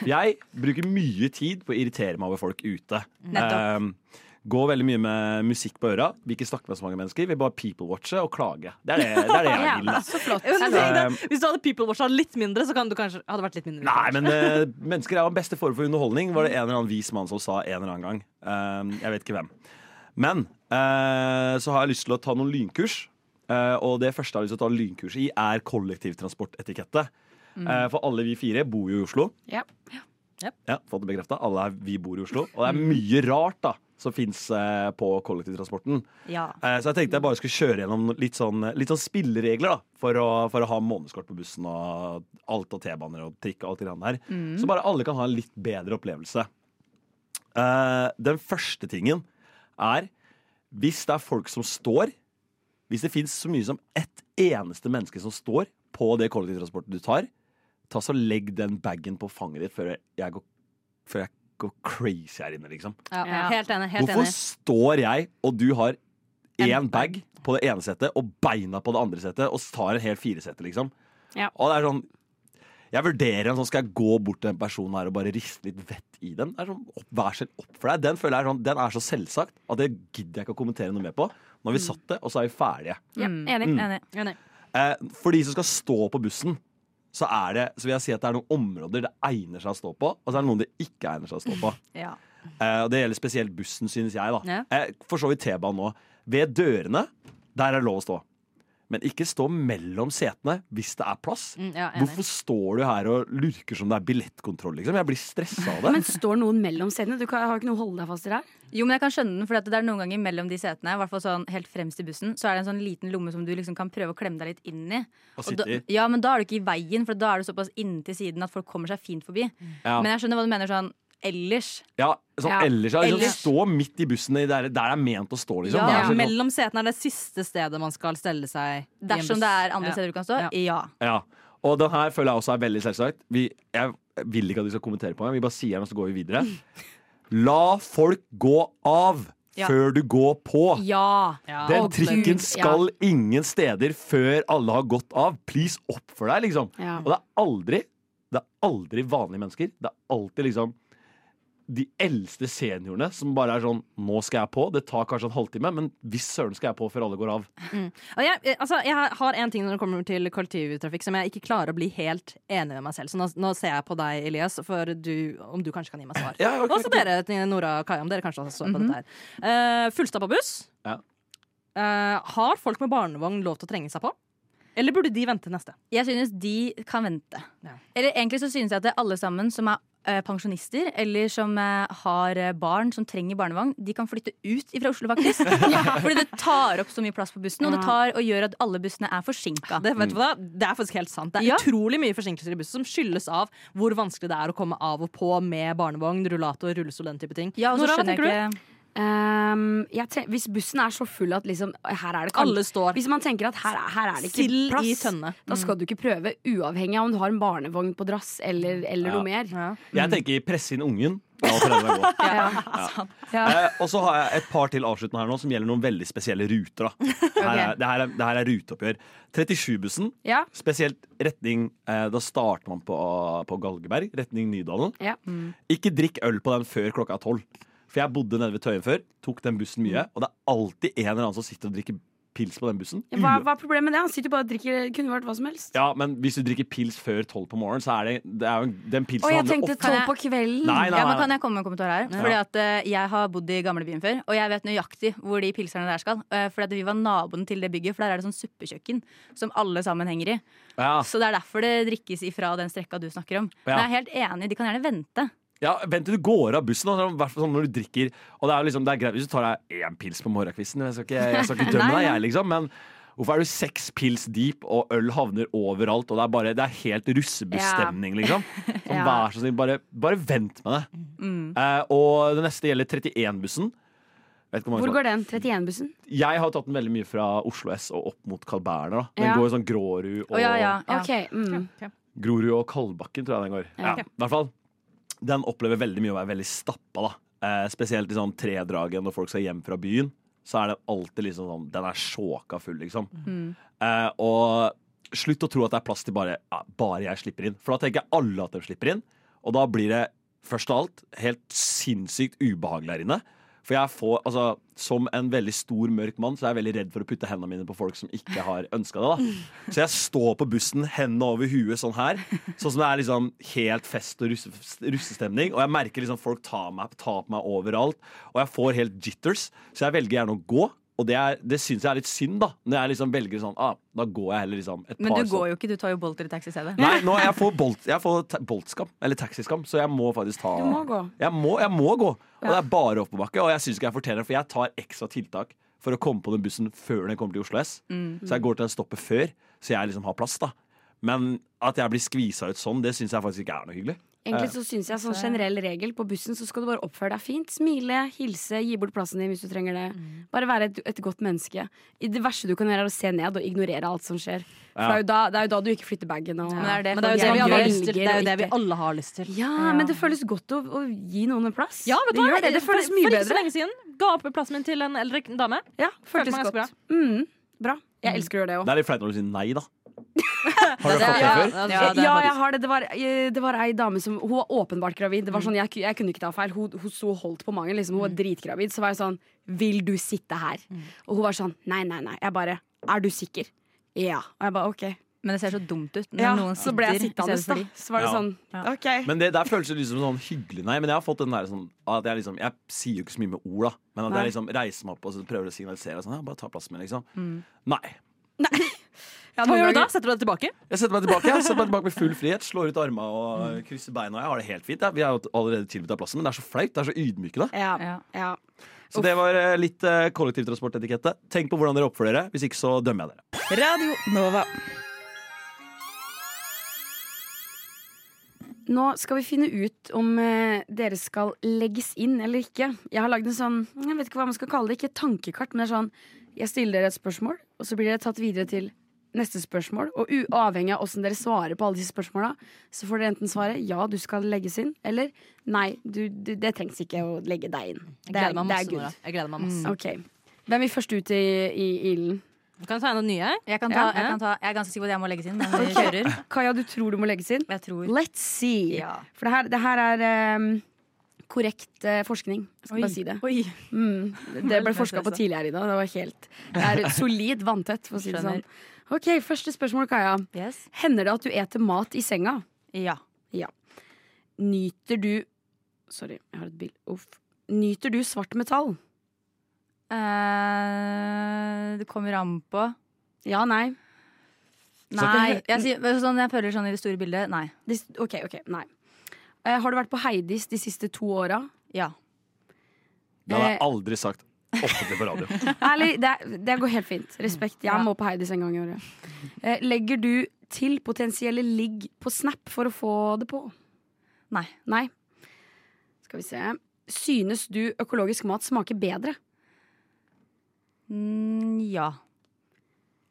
Jeg bruker mye tid på å irritere meg over folk ute.
Nettopp.
Eh, går veldig mye med musikk på øra. Vil ikke snakke med så mange mennesker. Vil bare people-watche og klage. Det er det, det, er det jeg vil. altså. da.
Så flott.
Men tenk
bra.
deg, Hvis du hadde people-watcha litt mindre, så kan du kanskje hadde det vært litt mindre.
Nei, men eh, mennesker er jo den beste form for underholdning, var det en eller annen vis mann som sa en eller annen gang. Eh, jeg vet ikke hvem. Men eh, så har jeg lyst til å ta noen lynkurs. eh, og det første jeg har lyst til å ta lynkurs i, er kollektivtransportetikette. Eh, for alle vi fire bor jo i Oslo.
Ja.
Ja, fått det bekrefta. Alle her, vi bor i Oslo. Og det er mye rart da som fins på kollektivtransporten.
Ja.
Eh, så jeg tenkte jeg bare skulle kjøre gjennom litt sånn, litt sånn spilleregler da, for å, for å ha månedskort på bussen og alt av T-baner og trikk og alt det grann der. Så bare alle kan ha en litt bedre opplevelse. Eh, den første tingen er hvis det er folk som står Hvis det fins så mye som ett eneste menneske som står på det kollektivtransporten du tar, ta så legg den bagen på fanget ditt før jeg går, før jeg går crazy her inne, liksom.
Ja, ja, helt enig. Helt
Hvorfor
enig.
står jeg, og du har én bag på det ene settet og beina på det andre settet, og tar en hel firesette, liksom?
Ja.
Og det er sånn Jeg vurderer en sånn Skal jeg gå bort til den personen her og bare riste litt vett i den? Det er sånn, opp, Vær selv opp for deg. Den føler jeg er sånn Den er så selvsagt at det gidder jeg ikke å kommentere noe mer på. Nå har vi satt det, og så er vi ferdige.
Ja,
Mm.
enig.
Mm.
Enig.
Enig.
Eh, for de som skal stå på bussen, så, er det, så vil jeg si at det er noen områder det egner seg å stå på, og så er det noen det ikke egner seg å stå på.
Ja.
Eh, og det gjelder spesielt bussen, synes jeg. da
Ja.
eh, For så vidt T-banen nå. Ved dørene, der er det lov å stå. Men ikke stå mellom setene hvis det er plass.
Mm, ja, enig.
Hvorfor står du her og lurker som det er billettkontroll? Liksom? Jeg blir stressa av det.
Men står noen mellom setene? Du kan, har ikke noe å holde deg fast i der?
Jo, men jeg kan skjønne den, for det er noen ganger mellom de setene, i hvert fall sånn helt fremst i bussen, så er det en sånn liten lomme som du liksom kan prøve å klemme deg litt inn i.
Og
da,
sitter i.
ja, men da er du ikke i veien, for da er du såpass inntil siden at folk kommer seg fint forbi.
Mm.
Ja.
Men jeg skjønner hva du mener sånn ellers.
Ja, sånn,
Ja,
Ellers, ja, liksom,
ellers.
Stå midt i bussen i der, der det er ment å stå, liksom.
Ja,
Det er
Ja,
sånn-
mellom setene er det siste stedet man skal stelle seg. i en buss.
Dersom det er andre
Ja.
steder du kan stå.
Ja.
Ja.
Ja, og den her føler jeg også er veldig selvsagt. Vi, jeg vil ikke at vi skal kommentere på den. Vi bare sier den, og så går vi videre. La folk gå av
Ja.
før du går på.
Ja.
Ja.
Den
Å,
trikken
Gud,
skal ingen steder før alle har gått av. Please, opp for deg, liksom.
Ja.
Og det er aldri Det er aldri vanlige mennesker. Det er alltid liksom de eldste seniorene som bare er sånn Nå skal jeg på. Det tar kanskje en halvtime, men hvis søren skal jeg på før alle går av.
Og jeg, altså, jeg har en ting når det kommer til kollektivtrafikk som jeg ikke klarer å bli helt enig med meg selv. Så nå, nå ser jeg på deg, Elias, for du, om du kanskje kan gi meg svar.
Ja, ok,
Og også dere, Nora og Kaja, om dere kanskje også står på dette her. Uh, Fullstappa buss.
Ja.
Eh, har folk med barnevogn lov til å trenge seg på? Eller burde de vente til neste?
Jeg synes de kan vente.
Ja.
Eller egentlig så synes jeg at det er alle sammen som er eh, pensjonister eller som eh, har eh, barn som trenger barnevogn, de kan flytte ut fra Oslo, faktisk. Fordi det tar opp så mye plass på bussen, og det tar og gjør at alle bussene er forsinka.
Det, vet du
Mm.
hva, det er faktisk helt sant. Det er
Ja.
utrolig mye forsinkelser i bussen som skyldes av hvor vanskelig det er å komme av og på med barnevogn, rullator, rullestol, den type ting.
Ja, og så
Nora, hva
skjønner
tenker du?
jeg ikke
Ehm, jeg tre hvis bussen er så full at liksom, her er det kan-
Alle står.
Hvis man tenker at her, er- her er det ikke
Sild i
plass,
tønne.
da skal du ikke prøve, uavhengig av om du har en barnevogn på drass eller, eller
Ja.
noe mer.
Ja.
Jeg tenker presse inn ungen. La foreldrene gå. Eh, og så har jeg et par til avsluttende her nå som gjelder noen veldig spesielle ruter. Da. Her er, det, her er, det her er ruteoppgjør. 37-bussen,
Ja.
spesielt retning eh, Da starter man på, på Galgeberg, retning Nydalen.
Ja.
Ikke drikk øl på den før klokka er tolv. For jeg bodde nede ved Tøyen før, tok den bussen mye, og det er alltid en eller annen som sitter og drikker pils på den bussen.
Hva, hva er problemet med det? Han sitter jo bare og drikker. Kunne vært hva som helst.
Ja, men hvis du drikker pils før tolv på morgenen, så er det, det er jo en- den pilsen
Og jeg
handler
tenkte
ofte-
tolv på kvelden.
Nei,
sånn
nei,
Ja, men
nei.
Kan jeg komme med en kommentar her? Fordi at eh, Jeg har bodd i gamlebyen før, og jeg vet nøyaktig hvor de pilserne der skal. Eh, fordi at Vi var naboen til det bygget, for der er det sånn suppekjøkken som alle sammen henger i.
Ja.
Så det er derfor det drikkes ifra den strekka du snakker om. Men jeg er helt enig, de kan gjerne vente.
Ja, Vent til du går av bussen. Altså, i hvert fall sånn når du drikker Og det er jo liksom, det er greit hvis du tar deg én pils på morgenkvisten. Jeg skal ikke, jeg skal ikke dømme deg, jeg, liksom. Men hvorfor er du seks pils deep, og øl havner overalt, og det er, bare, det er helt russebussstemning, liksom? Sånn,
Ja.
Vær så snill, bare, bare vent med det. Eh, og det neste gjelder 31-bussen. Vet ikke hvor mange
Hvor
som-
går den? 31-bussen?
Jeg har tatt den veldig mye fra Oslo S og opp mot Carl Berner. Da. Den
Ja.
går jo sånn Grårud og
Å, ja, ja, ja.
Ok, mm.
Grorud og Kalbakken, tror jeg den går. Ja, i hvert fall. Den opplever veldig mye å være veldig stappa, da. Eh, spesielt i sånn tredraget når folk skal hjem fra byen. Så er den alltid liksom sånn Den er sjåka full, liksom. Eh, og slutt å tro at det er plass til bare, ja, bare jeg slipper inn. For da tenker alle at de slipper inn. Og da blir det først av alt helt sinnssykt ubehagelig her inne. For jeg får, altså, Som en veldig stor, mørk mann Så er jeg veldig redd for å putte hendene mine på folk som ikke har ønska det. da Så jeg står på bussen, hendene over huet sånn her. Sånn som det er liksom helt fest og russe, russestemning. Og jeg merker liksom folk tar meg, tar på meg overalt. Og jeg får helt jitters, så jeg velger gjerne å gå. Og det, er- det syns jeg er litt synd, da. Når jeg liksom velger sånn ah, Da går jeg heller liksom et
Men
par
du går jo ikke, du tar jo Bolter i taxi i stedet.
Nei, nå jeg får, bolt, jeg får ta- boltskam, eller taxiskam, så jeg må faktisk ta
Du må gå.
Jeg må, jeg må gå. Og det er bare oppoverbakke. Og jeg syns ikke jeg fortjener det, for jeg tar ekstra tiltak for å komme på den bussen før den kommer til Oslo S.
Mm.
Så jeg går til den stoppet før, så jeg liksom har plass, da. Men at jeg blir skvisa ut sånn, det syns jeg faktisk ikke er noe hyggelig.
Egentlig så syns jeg sånn generell regel på bussen så skal du bare oppføre deg fint. Smile, hilse, gi bort plassen din hvis du trenger det. Bare være et, et godt menneske. I det verste du kan gjøre, er å se ned og ignorere alt som skjer. For det, er jo da, det er jo da du ikke flytter bagen. Og,
Men er det
Men det er jo det,
folk
vi,
gjør?
alle har
velger
lyst til. Det er jo det
å
vi
ikke-
alle har lyst til.
ja, men det føles godt å, å gi noen en plass.
Ja, vet du
det,
hva?
gjør det. det føles
for,
mye
for ikke så
bedre.
lenge siden ga opp plassen min til en eldre dame.
Ja,
Følte
føltes
meg ganske
godt. Mm, bra. Jeg elsker å gjøre det òg.
Det er litt flaut når du sier nei, da. Har du fått det før?
Ja,
Ja,
det er
Altså, jeg har det. Det var, eh, det var ei dame som Hun var åpenbart gravid. Det var sånn, jeg, ku- jeg kunne ikke ta feil. Hun, hun så holdt på magen. Liksom. Hun var dritgravid. Så var jeg sånn Vil du sitte her? Og hun var sånn Nei, nei, nei. Jeg bare Er du sikker? Ja. Og jeg bare OK.
Men det ser så dumt ut når
Ja,
noen
så ble jeg sittende,
sitter i
da.
stedet for de.
Så var det
Ja.
sånn OK.
Men det der føles jo liksom sånn hyggelig Nei, men jeg har fått den der sånn at jeg, liksom, jeg sier jo ikke så mye med ord da Men at
Nei.
jeg liksom reiser meg opp og så prøver å signalisere sånn, ja, Bare ta plassen min liksom
Mm.
Nei,
Ja,
Hva
noen
gjør du da?
ganger-
Setter du deg tilbake?
jeg setter meg tilbake Jeg setter meg tilbake med full frihet Slår ut armene og øh, krysser beina Jeg har det helt fint jeg. Vi har jo allerede tilbudt av plassen Men det er så flaut, det er så ydmykende
Ja.
Ja.
ja. Eh,
Så det var øh, litt øh, kollektivtransportetikette Tenk på hvordan dere oppfører dere Hvis ikke så dømmer jeg dere
Radio Nova.
Nå skal vi finne ut om eh, dere skal legges inn eller ikke. Jeg har lagd en sånn jeg vet ikke hva man skal kalle det, ikke et tankekart, men det er sånn Jeg stiller dere et spørsmål, og så blir dere tatt videre til neste spørsmål. Og u- avhengig av åssen dere svarer på alle disse spørsmåla, så får dere enten svare ja, du skal legges inn, eller nei, du, du, det trengs ikke å legge deg inn.
Jeg
Det er,
gleder meg
det er
masse. Nora.
good.
Jeg gleder meg masse.
Ok. Hvem vil først ut i, i ilden?
Kan jeg ta en av de nye?
Jeg, kan ta,
Ja.
jeg, kan ta, jeg er ganske sikker på at jeg må legges inn, men vi kjører.
Kaja, du tror du må legges inn?
Jeg tror.
Let's see.
Ja.
For det her, det her er eh, korrekt eh, forskning. Jeg skal bare si det.
Oi.
Mm, det ble
Veldig
forska på
nervøs, da.
tidligere i dag. Det var helt det er solid vanntett, for å si det sånn.
Skjønner.
Ok, Første spørsmål, Kaja.
Yes.
Hender det at du eter mat i senga?
Ja.
Nyter du Sorry, jeg har et bilde. Uff. Nyter du svart metall?
Eh, det kommer an på.
Ja, nei.
Nei. Jeg, sier, sånn, jeg føler sånn i det store bildet. Nei.
De, ok, ok, nei. Eh, har du vært på Heidis de siste to åra?
Ja.
Det har jeg
Eh.
aldri sagt offentlig på radio
Ærlig, det, det går helt fint. Respekt. Jeg må på Heidis en gang i året. Eh, legger du til potensielle ligg på Snap for å få det på?
Nei.
Nei. Skal vi se. Synes du økologisk mat smaker bedre?
Mm, ja.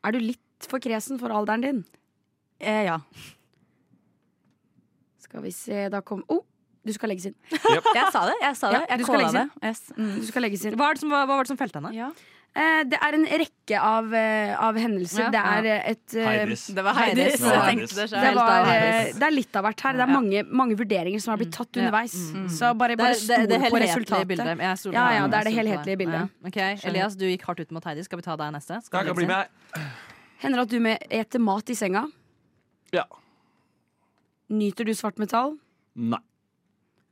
Er du litt for kresen for alderen din?
Eh, ja.
Skal vi se, da kom Å, oh, du skal legges inn.
Jeg sa det. Jeg sa
Ja,
det.
du
jeg
skal
kåla
legges
det.
inn.
Yes. Mm.
Du skal legges inn.
Hva, er det som, hva, hva var det som felte henne?
Ja.
Eh, det er en rekke av, eh, av hendelser.
Ja.
det er eh, et eh,
Heidis
Det var
Heidis.
Heidis. Jeg tenkte det
Det,
selv.
var, eh,
Heidis. Mm.
det er litt av hvert her. Det er mange, mange vurderinger som har blitt tatt
Ja.
underveis. Så bare, bare stol på resultatet.
bildet. Jeg stoler-
Ja, ja, det er det
jeg stoler på
helhetlige
deg.
bildet.
Ja. Ok, Elias, du gikk hardt ut mot Heidi. Skal vi ta deg neste? Skal
Jeg
du
kan bli
legge
med
Hender det at du med eter mat i senga?
Ja,
Nyter du svart metall?
nei,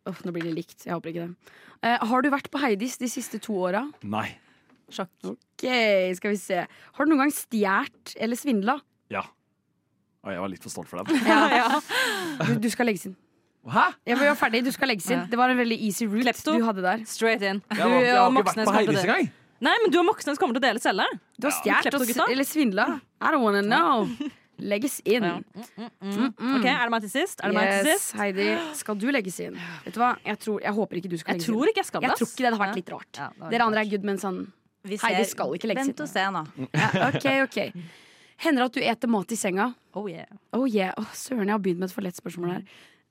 Åh, nå blir det likt. Jeg håper ikke det. Eh, har du vært på Heidis de siste to åra?
nei,
Ok, skal vi se. Har du noen gang stjålet eller svindla?
ja Oi, jeg var litt for stolt for
Eh.
den
Du, du skal legges inn.
Hæ?
Jeg var jo ferdig, du skal legges inn. Det var en veldig easy route
Klepto.
du hadde der.
inn? Straight in.
Jeg, var, jeg har
og
ikke vært
Moxnes
på
kommer til
Heidis
det.
engang
Nei, men du og Moxnes kommer til å dele celle.
Du har
Ja.
stjålet
Klepto,
og s-
gutta.
eller svindla. I don't wanna know. legges inn.
Ja. Ok, Er det meg til sist? Er det meg til
Mm, Yes,
sist?
Heidi, skal du legges inn? Vet du hva? Jeg, tror, jeg håper ikke du skal
Jeg
legges
tror
inn.
ikke jeg skal
Jeg
det,
tror
ass.
ikke det. Det har
Ja.
vært litt rart.
Ja, det var
Dere andre
rart.
er good, men sånn
Vi
Heidi skal ikke legge Mm.
Vent
seg
og se nå.
ja, OK, OK. Hender det at du eter mat i senga?
Oh, yeah.
Oh yeah. Åh, søren, jeg har begynt med et for lett spørsmål her.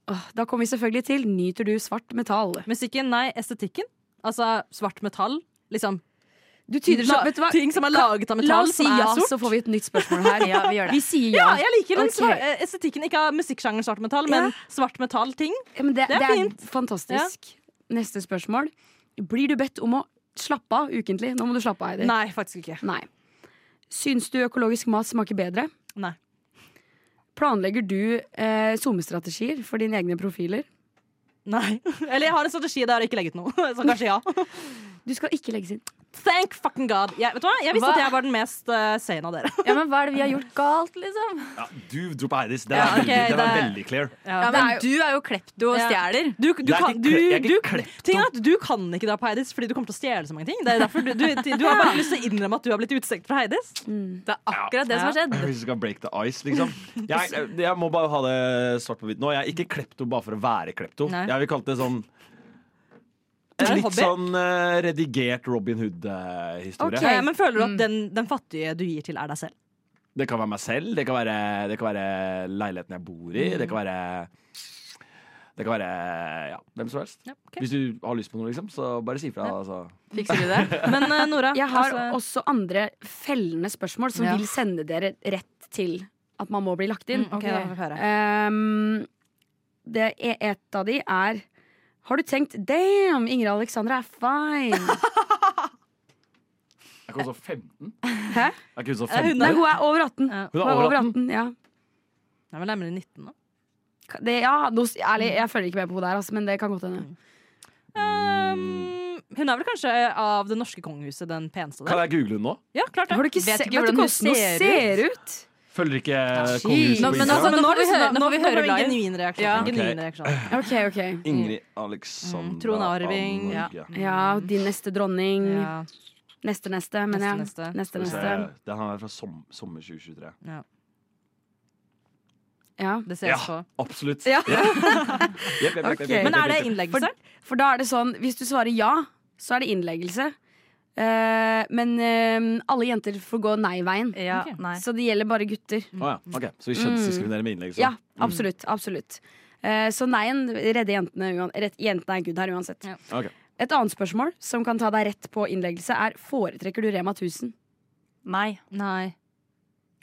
Åh, da kommer vi selvfølgelig til nyter du svart metall.
Musikken, nei, estetikken. Altså svart metall. Liksom
Du tyder så,
La-
vet du hva?
ting som er laget av
La
metall,
oss si
som er
ja,
sort.
så får vi et nytt spørsmål her.
Ja, vi gjør det.
Vi sier
Ja,
ja.
jeg liker den
Ok.
svar- eh, estetikken. Ikke av musikksjangeren svart metall, men svart metall-ting.
Ja, men det,
Det er
det er
fint.
fantastisk. Neste spørsmål. Blir du bedt om å slappe av ukentlig? Nå må du slappe av, Heidi.
Nei, faktisk ikke.
Nei. Syns du økologisk mat smaker bedre?
Nei.
Planlegger du eh, SoMe-strategier for dine egne profiler?
Nei. Eller jeg har en strategi der jeg ikke legger ut noe. Så kanskje ja.
Du skal ikke legges inn.
Thank fucking god. Jeg, vet du hva? jeg visste
Hva?
at jeg var den mest uh, sane av dere.
Ja, men hva er det vi har gjort galt, liksom?
Ja, du dro på Heidis. Den
Ja,
er, veldig,
ok,
den er
det-
veldig clear.
Ja,
det
men
er
du er jo klepto og
Ja.
stjeler.
Du, du,
Jeg er ikke
kan, du,
kle- jeg er
du,
ikke klepto.
ting er at du kan ikke dra på Heidis fordi du kommer til å stjele så mange ting. Det er derfor du, du, du har bare lyst til å innrømme at du har blitt utestengt fra Heidis.
Det er akkurat det som har skjedd.
Hvis du skal break the ice, liksom. Jeg, jeg må bare ha det svart på hvitt nå. Jeg er ikke klepto bare for å være klepto.
Nei.
Jeg vil kalle det sånn
Er det
en
en
litt
hobby?
sånn eh, redigert Robin Hood-historie.
Ok.
Eh, Men føler du at den, den fattige du gir til, er deg selv?
Det kan være meg selv, det kan være, det kan være leiligheten jeg bor i, det kan være Det kan være ja, hvem som helst.
Ja, ok.
Hvis du har lyst på noe, liksom, så bare si ifra. Altså.
Fikser du det?
Men eh, Nora,
Jeg har
altså-
også andre fellende spørsmål som
Ja.
vil sende dere rett til at man må bli lagt inn.
Mm, ok, da får vi høre.
Ehm, det er et av de er Har du tenkt 'damn, Ingrid Alexandra er fine'?
Er ikke hun sånn 15?
Hæ?
Er ikke hun sånn
Eh, hun
15?
Nei, hun er over 18.
Hun
Ja.
er
Hun er
over
over 18 ja.
Hun er vel nærmere 19 nå.
Det, ja, nå, ærlig, jeg følger ikke med på henne der, altså, men det kan godt hende.
Um, hun er vel kanskje av det norske kongehuset den peneste
Mm. Kan
der.
jeg google hun nå?
Ja, klart
Har
det.
du ikke
Vet
se,
ikke
vet du
hvordan hun
hvordan hun ser
ser
ut?
Følger ikke eh,
Jeez.
kongehuset
Nå,
på
men
Instagram?
altså- nå får vi
det
høre- nå får vi høre
det en
live.
genuin reaksjon.
Ja.
en
Ok.
genuin
Sånn
reaksjon.
Ok, ok
Ingrid Alexandra
Mm, Trond Arving. Mm.
av
Ja.
Norge.
Ja, din neste dronning.
Ja.
Neste neste, men ja.
Neste, neste.
Neste
Skal vi
neste.
se. Den her er fra som, sommer 2023.
Ja.
Det ses
Ja.
på.
Absolutt.
Ja.
Jep, jep, jep, jep,
Ok.
jep,
Men
jep,
er det
jep.
innleggelse?
For da er det sånn, hvis du svarer ja, så er det innleggelse. Eh, men eh, alle jenter får gå nei-veien.
Ja,
Ok.
nei.
Så det gjelder bare gutter.
Å ja. ok. Så vi kjønnsdiskriminerer med innlegg? så.
Ja, absolutt. absolutt. Eh, så nei-en redder jentene. uan- rett- Jentene er good her uansett.
Ja.
Ok.
Et annet spørsmål som kan ta deg rett på innleggelse, er foretrekker du Rema 1000?
Nei.
Nei.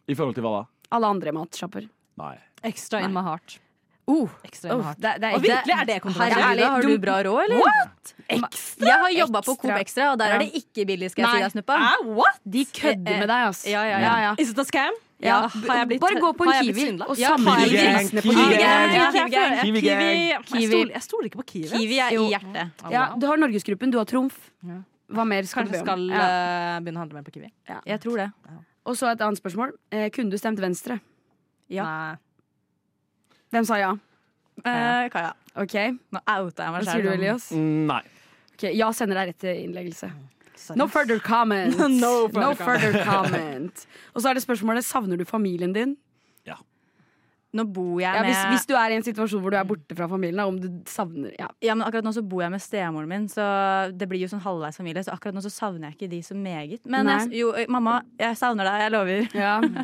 I forhold til hva da?
Alle andre matsjapper.
Nei.
Extra in my heart.
Oh,
Extra in my heart.
det, det er
Og virkelig er det kontroversielt.
Herregud, da har du bra råd, eller?
Ekstra?
Jeg har jobba på Coop
Ekstra.
Ekstra, og der er det ikke billig, skal jeg
Nei.
si deg, Snuppa.
Ah, what?
De kødder med deg, ass.
Ja, ja,
ja,
ja.
ja.
Is it a scam?
Ja,
Ja, har jeg blitt-
bare gå på en
har jeg blitt
Kiwi
svindlet?
og
Ja,
sammenlign
Kiwi gang,
prisene på
Kiwi
Kiwi.
gang.
gang.
Ja,
Kiwi gang.
jeg føler-
Kiwi gang.
Jeg stoler- Jeg stoler ikke på Kiwi.
Kiwi er i hjertet.
Ah, wow.
Ja, du har Norgesgruppen, du har Trumf. Hva mer skal
Kanskje
du be om?
skal
Ja.
eh, begynne å handle mer på Kiwi.
Jeg tror det.
Og så et annet spørsmål. Eh, kunne du stemt Venstre?
Ja.
Nei.
Hvem sa ja?
Eh, Kaja,
Ok,
nå outa jeg meg
Hva sier
selv.
du, Elias?
Mm, Nei.
Ok, ja sender deg rett til innleggelse.
Sorry.
No further comment.
No further
further comment. Og så er det spørsmålet savner du familien din.
Nå bor jeg
Ja,
med
hvis, hvis du er i en situasjon hvor du er borte fra familien, da, om du savner ja.
Ja, men akkurat nå så bor jeg med stemoren min, så det blir jo sånn halvveis familie. Så akkurat nå så savner jeg ikke de så meget. Men jeg,
Nei.
jo, ø, mamma, jeg savner deg, jeg lover.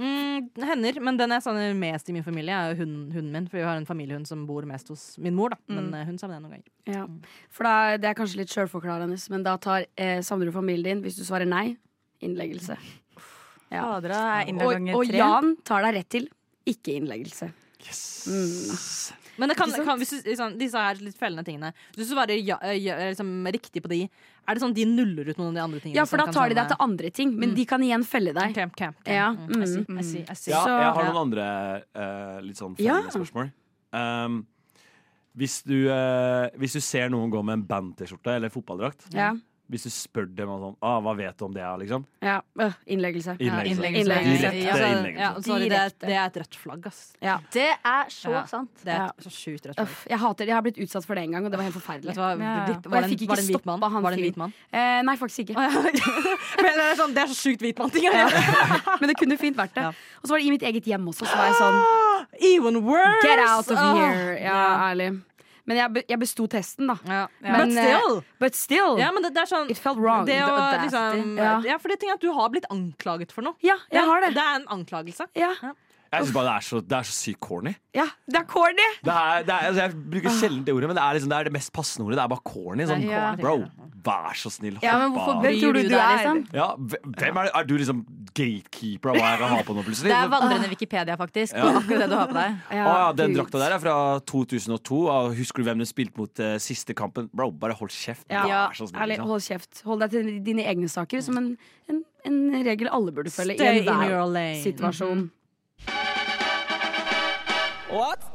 Mm, det hender, men den jeg savner mest i min familie, er jo hunden, hunden min. For vi har en familiehund som bor mest hos min mor, da. Men eh, hun savner jeg noen ganger.
ja. For da, det er kanskje litt sjølforklarende, men da tar eh, savner du familien din hvis du svarer nei. Innleggelse. Ja.
Fader, da er jeg innlagt
Og,
ganger
og
tre.
Jan tar deg rett til ikke innleggelse.
Yes.
Men det kan,
Ikke sant?
kan, hvis du, liksom, disse her litt fellende tingene Hvis du svarer ja, eh, ja, liksom, riktig på de, er det sånn de nuller ut noen av de andre tingene?
Ja, for da
som kan sånn, eh,
tar de deg
savne-
til andre ting, men de kan igjen felle deg.
Ok, ok, ok.
Ja,
Mm, I see,
mm.
I see, I see.
Ja,
Så-
jeg har noen andre eh, litt sånn
Ja.
fellende spørsmål. Um, hvis, du, eh, hvis du ser noen gå med en band-T-skjorte eller fotballdrakt,
Ja.
hvis du spør dem og sånn, ah, hva vet du om det, er», liksom.
Ja, øh, innleggelse.
Innleggelse.
Innleggelse.
Direkte
Ja, altså,
innleggelse.
ja, sorry, det, er-
Direkte.
det er et rødt flagg, ass.
Ja.
Det er så
Ja.
sant.
Det er
Ja.
et så sjukt rødt flagg.
Uff, jeg hater det. Jeg har blitt utsatt for det en gang, og det var helt
Vet
forferdelig.
du hva,
Ja, ja.
ditt-
Og
var
jeg
det
fikk
en-
ikke
var det en hvit
stoppa
mann?
han
Var det en hvit
fyren.
mann?
Eh, nei, faktisk ikke.
Men det er, sånn, det er så sjukt hvit mann-ting.
Ja. Men det kunne fint vært det.
Ja.
Og så var det i mitt eget hjem også, så var jeg sånn
Even worse! Ah.
Get out of
Åh.
here. Ja,
Ja.
ærlig. Men jeg, be- jeg besto testen, da.
Ja.
Men,
But
eh,
still!
But still.
Ja, men det, det er sånn
It felt wrong.
Det
The
å
audacity.
liksom ja.
Ja.
for det ting er at du har blitt anklaget for noe.
Ja, jeg har det.
Det er en anklagelse.
Ja,
Jeg synes bare det er så, det er så sykt corny.
ja. Det er corny!
Det er, det er, altså, jeg bruker sjelden det ordet, men det er, liksom, det er det mest passende ordet. Det er bare corny. Sånn,
Ah. Ja.
Bro, vær så snill, hopp
Ja, men hvorfor
av.
Hvem tror
bryr
du du
du deg,
er?
liksom?
Ja, hve- hvem er, er du liksom gatekeeper av hva jeg kan ha på nå, plutselig?
Det er vandrende Wikipedia, faktisk.
Ja.
på Akkurat det du har på deg.
Å ja, den drakta der er fra 2002. Og husker du hvem du spilte mot eh, siste kampen? Bro, bare hold kjeft.
Ja,
Vær så snill.
Ærlig,
liksom.
hold kjeft. Hold deg til dine egne saker, som en, en, en regel alle burde følge. i
Stay in your
enhver
lane.
situasjon.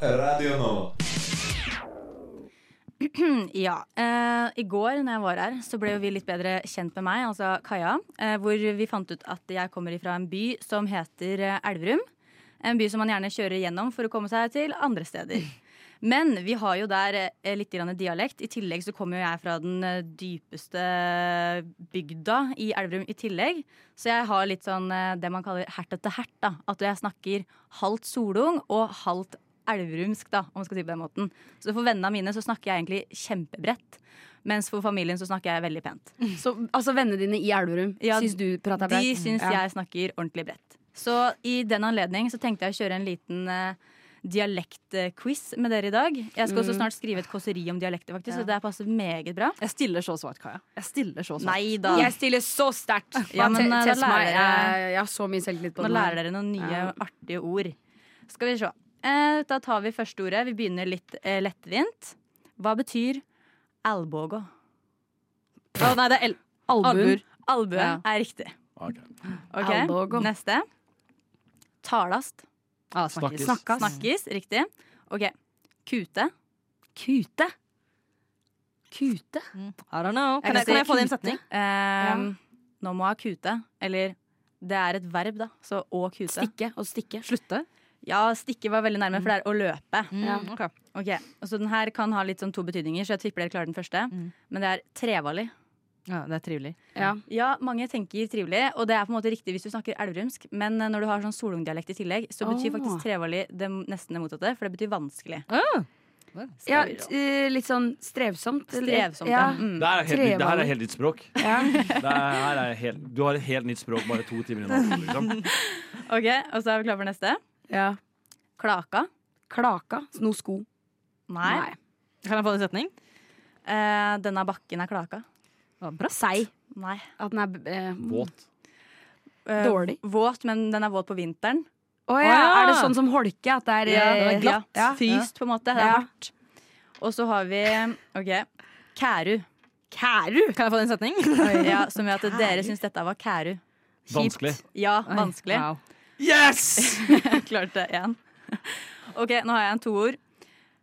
Radio Nova.
Ja. Eh, I går når jeg var her, så ble jo vi litt bedre kjent med meg, altså Kaja. Eh, hvor vi fant ut at jeg kommer ifra en by som heter eh, Elverum. En by som man gjerne kjører gjennom for å komme seg til andre steder. Men vi har jo der eh, litt grann dialekt. I tillegg så kommer jo jeg fra den eh, dypeste eh, bygda i Elverum i tillegg. Så jeg har litt sånn eh, det man kaller hert etter hert. da. At jeg snakker halvt solung og halvt elverumsk, da, om man skal si det på den måten. Så for vennene mine så snakker jeg egentlig kjempebredt. Mens for familien så snakker jeg veldig pent.
Så altså, vennene dine i Elverum
Ja,
syns du prater
De
bredt?
syns
Ja.
jeg snakker ordentlig bredt. Så i den anledning så tenkte jeg å kjøre en liten eh, dialektquiz med dere i dag. Jeg skal også snart skrive et kåseri om dialekter, faktisk, så det her passer meget bra.
Jeg stiller så svart, Kaja. Jeg stiller så svart.
Nei da.
Jeg stiller så sterkt!
Ja, men,
Te-
eh, da
test meg.
lærer jeg-
Jeg, jeg har så mye selvtillit på
Nå
den her.
lærer dere noen nye artige ord. Skal vi se. Eh, da tar vi første ordet. Vi begynner litt eh, lettvint. Hva betyr albågå?
Å, nei, det er el albuer.
Albuen.
Albue
Ja.
er riktig.
Ok.
Ok,
Albågå.
Neste. Talast.
Ah, snakkes.
Snakkes.
Snakkas.
Snakkes, riktig. Ok. Kute. Kute? Kute?
I don't know. Kan
kan
jeg, kan jeg
si
få det i en
kute.
setning?
Ehm, Nå må jeg ha kute. Eller det er et verb, da. Så å kute.
Stikke og stikke.
Slutte? Mm.
Ja, stikke var veldig nærme, for det er å løpe.
Ja.
Ok, og Så den her kan ha litt sånn to betydninger, så jeg tipper dere klarer den første.
Mm.
Men det er trevallig.
ja, det er trivelig.
Ja.
Ja, mange tenker trivelig, og det er på en måte riktig hvis du snakker elverumsk. Men eh, når du har sånn solungdialekt i tillegg, så betyr
Åh.
faktisk trevallig det m- nesten det motsatte, for det betyr vanskelig.
Ja, t- eh, litt sånn strevsomt. eller-
Strevsomt.
Ja.
Ja. Mm.
Det, her er helt, nytt- det her
Trevalg.
er helt nytt språk. Det her er helt, du har et helt nytt språk bare to timer innan. Liksom.
Ok, Og så er vi klare for neste.
Ja.
Klaka.
Klaka. Noe sko.
Nei.
Kan jeg få det i en setning?
Eh, denne bakken er klaka.
Ja, bra.
Sei.
Nei.
At den er eh,
Våt.
Eh,
Dårlig.
Våt, men den er våt på vinteren.
Å ja.
ja.
Er det sånn som holke? At det er,
Ja,
eh,
den er glatt.
Ja.
Fryst, på en måte. Det er
Ja.
hardt. Og så har vi OK. Kæru.
Kæru!
Kan jeg få det i en setning?
Ja, som gjør at dere
Kæru.
syns dette var kæru.
Vanskelig.
Ja, vanskelig.
Wow.
Yes!
Klarte én. OK, nå har jeg en toord.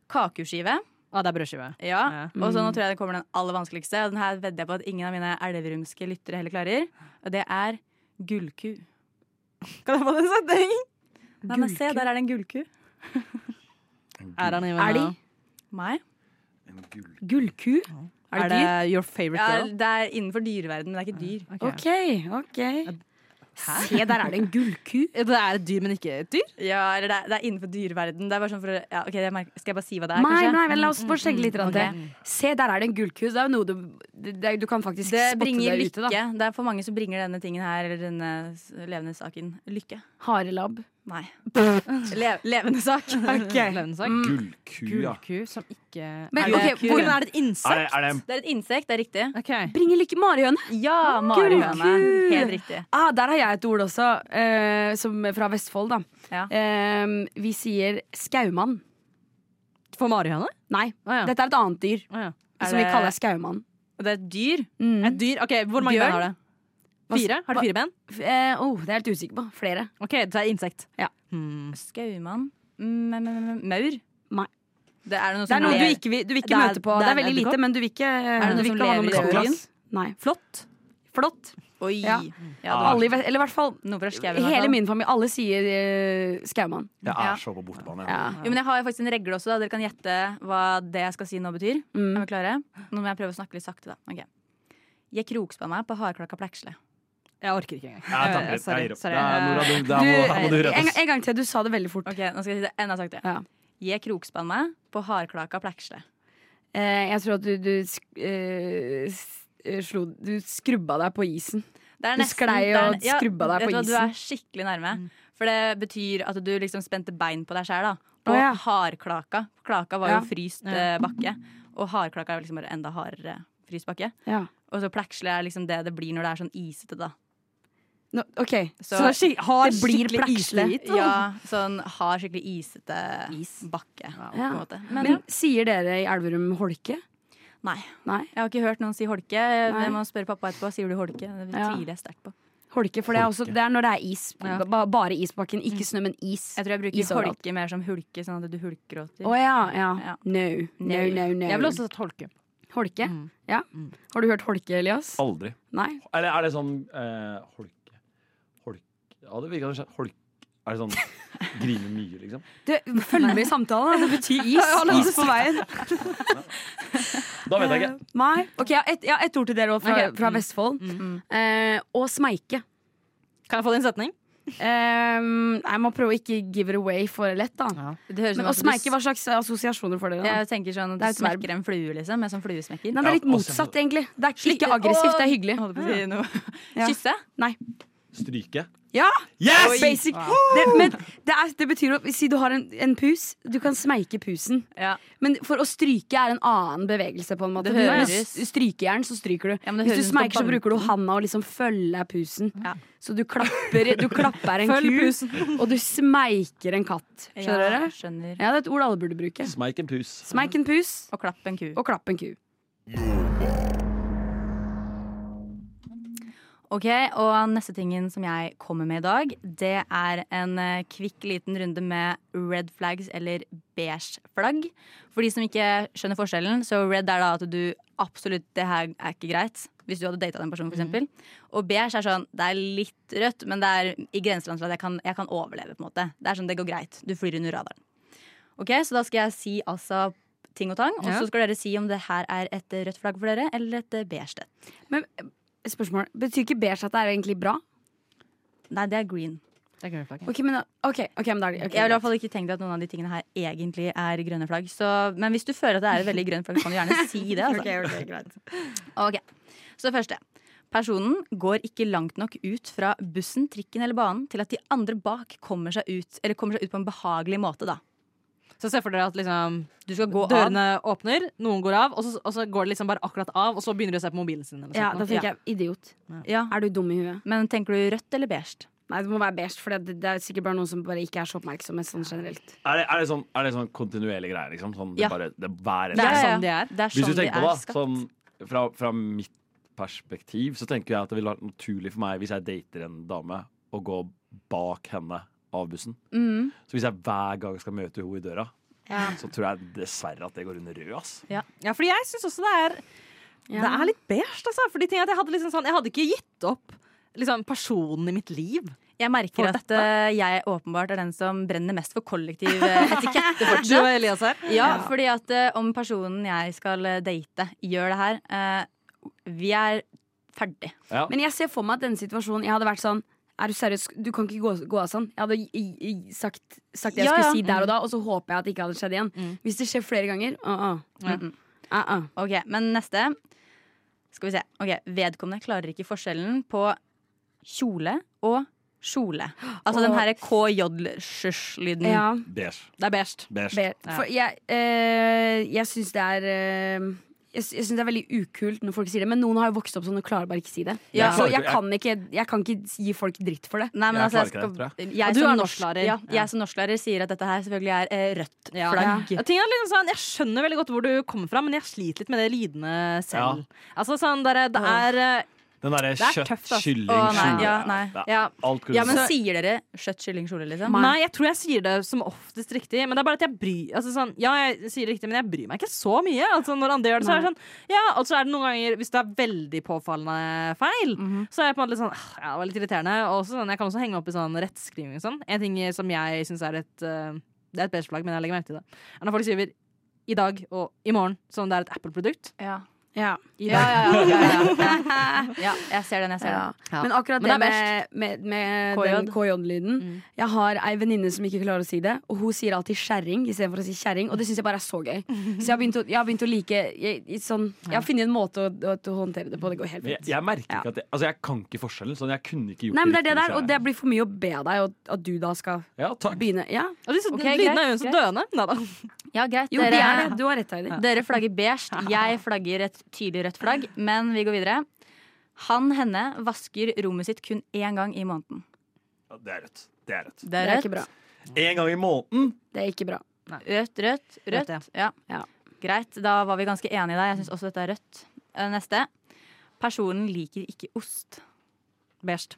Kakeskive.
Ah, det er brødskive.
Ja.
Ja.
Og så nå tror jeg det kommer den aller vanskeligste. Og den her vedder jeg på at ingen av mine elverumske lyttere heller klarer. Og det er gullku.
Kan jeg få det i en setning?
Nei, men se,
Gullku?
der er det en gullku.
Er han i
Er de?
Meg?
En gull-
Gullku? Er
Er
det
det
dyr?
your favorite
Ja,
girl?
det er innenfor dyreverden, men det er ikke dyr.
Ok.
OK, OK. Se, der er det en gullku.
Det er et dyr, men ikke et dyr?
Ja, eller det er, det er innenfor dyreverden. Det er bare sånn for å, ja, ok, jeg merker, Skal jeg bare si hva det er,
Nei,
kanskje? Mm,
nei, vel, la oss bare sjekke litt grann
Ok.
til. Se, der er det en gullku. Så Det er jo noe du det, Du kan faktisk
Det
spotte
bringer
det
lykke.
ute, da.
Det er for mange som bringer denne tingen her, eller denne s- levende saken, lykke.
Harelabb.
Nei. Le levende sak.
Levende
Mm.
sak.
Gullku, ja.
Gulku som ikke
Men,
Er det
ok,
ku?
hvor-
er det et
Er det,
insekt?
er det en
Det er et insekt, det er riktig.
Bringer lykke marihøne.
Ja, marihøne.
Gullku!
Helt riktig.
Ah, der har jeg et ord også, eh, som er fra Vestfold, da.
Ja.
Eh, vi sier skaumann.
For marihøne?
Nei,
Å ja.
dette er et annet dyr
Å ja.
Er
som vi
det-
kaller skaumann.
Og det er et dyr.
Mm.
Et dyr? Ok, Hvor mange ben
Bjørn?
har det?
Hva-
Fire? Har det fire ben?
F- eh, oh, det er jeg helt usikker på. Flere.
Ok, det er insekt.
Ja.
Hmm.
Skaumann. Mm, mm, mm, mm, Maur.
Nei.
Det er noe
Det
som
er noe du
lever-
ikke, vil- du vil ikke
Det er-
møte på. Det er,
det er en
veldig
edderkopp?
lite, men du vil ikke,
Er
du
det noe
vil
som
ikke ha noe
lever
med
i
det å gjøre.
skogen?
Nei.
Flott.
Flott.
Oi.
Ja.
Ja. det var
Alle, i ve- eller i hvert fall
noe fra skauen. i hvert
hele
fall.
min familie. Alle sier eh, Skauman.
Jeg
Ja.
er så på bortebane.
Ja.
Jo, men jeg har jo faktisk en regle også. Da. Dere kan gjette hva det jeg skal si nå betyr. Er
Mm.
vi klare? Nå må jeg prøve å snakke litt sakte, da. Ok. Jeg krokspann meg på hardklakka pleksle.
Jeg orker ikke engang.
Jeg takker.
Sorry,
Jeg gir opp.
sorry.
Det er Nora, du, det
Du, eh,
er, må, her må du
en,
reddes.
en gang til. Du sa det veldig fort.
Ok, nå skal jeg si det enda saktere.
Ja.
Jeg krokspann meg på hardklakka pleksle.
Eh, jeg tror at du, du sk eh, s- eh, slo Du skrubba deg på isen.
Det er
Du sklei
det er
og
ne- ja,
skrubba deg
vet
på
du hva, Du
isen. Mm.
er skikkelig nærme. For det betyr at du liksom spente bein på deg sjæl. På
Å, ja.
hardklaka. Klaka var
Ja.
jo fryst eh, bakke. Og hardklaka er liksom bare enda hardere fryst bakke.
Ja.
Og så pleksle er liksom det det blir når det er sånn isete, da.
Nå, OK.
Så-
Så, skik- har
Det blir
skikkelig
pleksle.
isbit, da.
Ja, sånn har skikkelig isete bakke. På en
Ja.
måte. Men,
Men sier dere i Elverum holke?
nei.
Nei.
Jeg har ikke hørt noen si holke.
Nei.
Jeg må spørre pappa etterpå. Sier du holke? Det
Ja.
tviler jeg sterkt på.
Holke, for det er, også, det er når det er is.
Ja.
Ba, bare is på bakken. Ikke snø, men is.
Mm. Jeg tror jeg bruker
Is overalt.
holke mer som hulke, sånn at du hulkgråter.
Å ja, ja.
Ja.
No. No, no, no.
Jeg vil også tolke.
Holke? Ja. Har du hørt holke, Elias?
Aldri.
Nei.
Eller er det sånn eh, holke Holke Ja, det virker kanskje holke. Er det sånn grine mye, liksom?
Du, følg med i samtalen. da. Det betyr is. Is på veien.
Da vet jeg ikke.
Nei. Ok, Jeg har ett jeg har ett ord til dere også fra,
Ok.
fra Vestfold. Eh, og smeike.
Kan jeg få din setning?
Eh, jeg må prøve å ikke give it away for lett, da.
Det
Men,
høres som
og
at du
smeike, hva slags assosiasjoner får dere? da?
Jeg tenker sånn
Det er
at
et
du
verb.
smekker en flue, liksom. Med sånn fluesmekker.
Nei, det er litt
Ja, også-
motsatt, egentlig. Det er ikke- ikke aggressivt, det er hyggelig.
Holdt på å si noe.
Ja.
Kysse?
Stryke.
Ja!
Yes!
Basic.
Ah.
Det, men det, er, det betyr å si du har en, en pus, du kan smeike pusen.
Ja.
Men for å stryke er en annen bevegelse, på en måte.
Det
Du-
høres-
Med s- strykejern, så stryker du.
Ja, men det
Hvis du
høres ut som
smeiker, så
banken.
bruker du handa og liksom følger pusen.
Ja.
Så du klapper, du klapper en
Følg
ku,
pusen.
og du smeiker en katt. Skjønner
Ja,
dere?
Skjønner.
Ja, det er et ord alle burde bruke.
Smeik en pus.
Smeik en pus,
Og klapp en ku.
og klapp en ku.
Ok, og neste tingen som jeg kommer med i dag, det er en eh, kvikk liten runde med red flags eller beige flagg. For de som ikke skjønner forskjellen, så red er da at du absolutt, det her er ikke greit. Hvis du hadde data den personen, for eksempel. Og beige er sånn, det er litt rødt, men det er i grenseland til at jeg kan, jeg kan overleve, på en måte. Det er sånn, det går greit. Du flyr under radaren. Ok, så da skal jeg si altså ting og tang, og
Ja.
så skal dere si om det her er et rødt flagg for dere, eller et beige det.
Men eh, spørsmål, betyr ikke beige at det er egentlig bra?
Nei, det er green.
Ok, men, da- ok, ok, men da er det ok,
Jeg vil i
greit.
hvert fall ikke tenkt at noen av de tingene her egentlig er grønne flagg. Så, men hvis du føler at det er et veldig grønt flagg, kan du gjerne si det. Altså. Ok. Så det første. Personen går ikke langt nok ut fra bussen, trikken eller banen til at de andre bak kommer seg ut, eller kommer seg ut på en behagelig måte, da.
Så se for dere at liksom,
Du skal gå av.
dørene åpner, noen går av, og så, og så går det liksom bare akkurat av, og så begynner de å se på mobilen sin. Eller
Ja,
sånt
da
noe.
tenker jeg, idiot.
Ja.
Er du dum i huet?
Men tenker du rødt eller beige?
Nei, det må være beige, for det, det er sikkert bare noen som bare ikke er så oppmerksomme sånn generelt.
Er det, er det sånn, er det sånn kontinuerlig greie, liksom? Sånn, det
Ja.
bare, det hver eneste
Det er
Ja, ja, ja.
sånn de er.
Det er
Hvis
sånn
du
de
tenker
er
på det,
skapt.
sånn, fra, fra mitt perspektiv, så tenker jeg at det ville vært naturlig for meg, hvis jeg dater en dame, å gå bak henne av bussen. Så hvis jeg hver gang skal møte henne i døra, så tror jeg dessverre at det går under rød, ass.
Ja, fordi jeg syns også det er Det er litt beige, altså. Fordi ting er at jeg, hadde liksom sånn, jeg hadde ikke gitt opp liksom, personen i mitt liv.
Jeg
For
merker at
dette.
eh, jeg åpenbart er den som brenner mest for kollektiv eh, etikette fortsatt.
Du og Elias her.
Ja, fordi at eh, om personen jeg skal eh, date, gjør det her eh, Vi er ferdig.
Ja.
Men jeg ser for meg at denne situasjonen Jeg hadde vært sånn er du seriøs? Du kan ikke gå, gå av sånn. Jeg hadde i, i, sagt, sagt det jeg
Ja,
skulle
ja. Mm.
si der og da, og så håper jeg at det ikke hadde skjedd igjen. Hvis det skjer flere ganger uh-uh.
Ja.
Mm-mm. Uh-uh.
Ok, Men neste. Skal vi se. Ok, Vedkommende klarer ikke forskjellen på kjole og kjole. Altså den herre KJ-lyden.
Ja,
Beige.
Det er beige.
Beige.
be- For jeg, eh, jeg syns det er eh, jeg, sy- jeg synes det er veldig ukult når folk sier det, men noen har jo vokst opp sånn og klarer bare ikke si det.
Ja.
Så jeg kan, ikke, jeg kan ikke gi folk dritt for det.
Nei, men
Jeg
altså, jeg
klarer ikke det,
skal,
tror
jeg,
Og du er
som norsk-
norsklærer.
Ja,
Ja.
jeg som norsklærer sier at dette her selvfølgelig er eh, rødt
Ja.
flagg.
Ja, ting er liksom sånn, jeg skjønner veldig godt hvor du kommer fra, men jeg sliter litt med det lydene selv. Altså sånn der, Det er eh,
Den derre
Det er
kjøtt,
tøft, ass.
kylling,
Å, nei,
kjole.
ja, nei.
Ja,
Ja.
Alt kunne
Ja, men
du sagt.
sier dere kjøtt, kylling, kjole, liksom?
Nei, jeg tror jeg sier det som oftest riktig. Men det er bare at jeg bryr altså sånn, Ja, jeg sier det riktig, men jeg bryr meg ikke så mye. Altså Når andre gjør det, så er det sånn Ja, og så er det noen ganger, hvis det er veldig påfallende feil,
Mhm.
så er jeg på en måte litt sånn «Ah, Ja, det var litt irriterende. Og så sånn, jeg kan også henge opp i sånn rettskriving og sånn. En ting som jeg syns er et eh, Det er et beige flagg, men jeg legger merke til det. Er når folk skriver i dag og i morgen, som om det er et Apple-produkt.
Ja.
Ja.
I
Ja,
dag.
ja, ja, ja, ja, ja. Jeg ser den, jeg ser den.
Ja.
Men akkurat
Men
det
det er
med, med, med
KJ.
den Mm. KJ-lyden Jeg har ei venninne som ikke klarer å si det, og hun sier alltid skjæring istedenfor å si kjerring, og det syns jeg bare er så gøy. Så jeg har begynt å, jeg har begynt å like jeg, i sånn, jeg har funnet en måte å, å, å håndtere det på, det går helt
Men jeg,
fint.
jeg merker
Ja.
ikke at jeg, altså jeg kan ikke forskjellen. Sånn, jeg kunne ikke gjort
Nei, men det er det der,
riktig hvis
og
jeg-
det blir for mye å be av deg, og at du da skal
ja, takk.
begynne. Ja.
Og disse
Ok,
lydene
greit,
er jo så
greit.
døende. Neida.
Ja, greit.
Jo, det er det. Du har rett, Heidi.
Dere flagger beige, jeg flagger et tydelig rødt flagg, men vi går videre. Han, henne, vasker rommet sitt kun én gang i måneden.
Ja, det er rødt. Det er rødt.
Det
Det
er
er
rødt,
ikke bra.
En gang i måneden.
Det er ikke bra.
rødt, rødt,
Rødt, ja.
rødt. Ja.
Ja.
Greit, da var vi ganske enige der. Jeg syns også dette er rødt. Eh, Neste. Personen liker ikke ost.
Beige.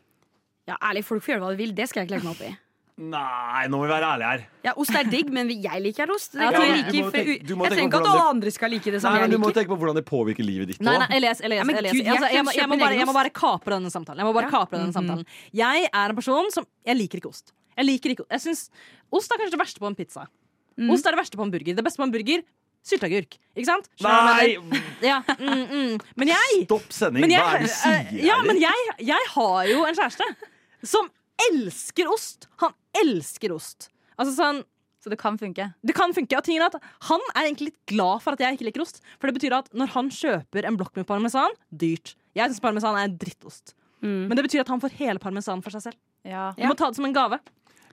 Ja, ærlig, folk får gjøre hva de vil. Det skal jeg ikke legge meg opp i.
Nei, nå må vi være ærlige her.
Ja, Ost er digg, men jeg liker ost. Det
Ja,
kan
du-
jeg
du må
like.
tenke-
Jeg
du må
trenger
tenke
ikke at
på
alle andre skal like Sånn det som
Nei,
jeg
men Du må
liker.
tenke på hvordan det påvirker livet ditt.
Nei,
også.
nei, jeg leser, jeg leser.
Ja, men
jeg,
Gud,
leser.
jeg
Altså, jeg,
kunne
må,
kjøpt
jeg, må
min
bare,
egen
jeg må
ost.
bare kapre denne samtalen. Jeg må bare
Mhm.
kapre denne samtalen. Jeg er en person som Jeg liker ikke ost. Jeg liker ikke, jeg synes, Ost er kanskje det verste på en pizza.
Mhm.
Ost er det verste på en burger. Det beste på en burger sylteagurk. Ikke sant? Skjønner du hva jeg
Nei,
mener? Ja, mm, mm. Men jeg,
stopp sending.
men jeg
Hva er det du
eh,
sier?
Ja,
Erik?
men jeg, jeg har jo en kjæreste som elsker ost. Han elsker ost. Altså sånn
Så det kan funke.
det kan funke. Og tingen er at Han er egentlig litt glad for at jeg ikke liker ost. For det betyr at når han kjøper en blokk med parmesan dyrt Jeg syns parmesan er en drittost. Men det betyr at han får hele parmesanen for seg selv.
Ja.
Du må ta det som en gave.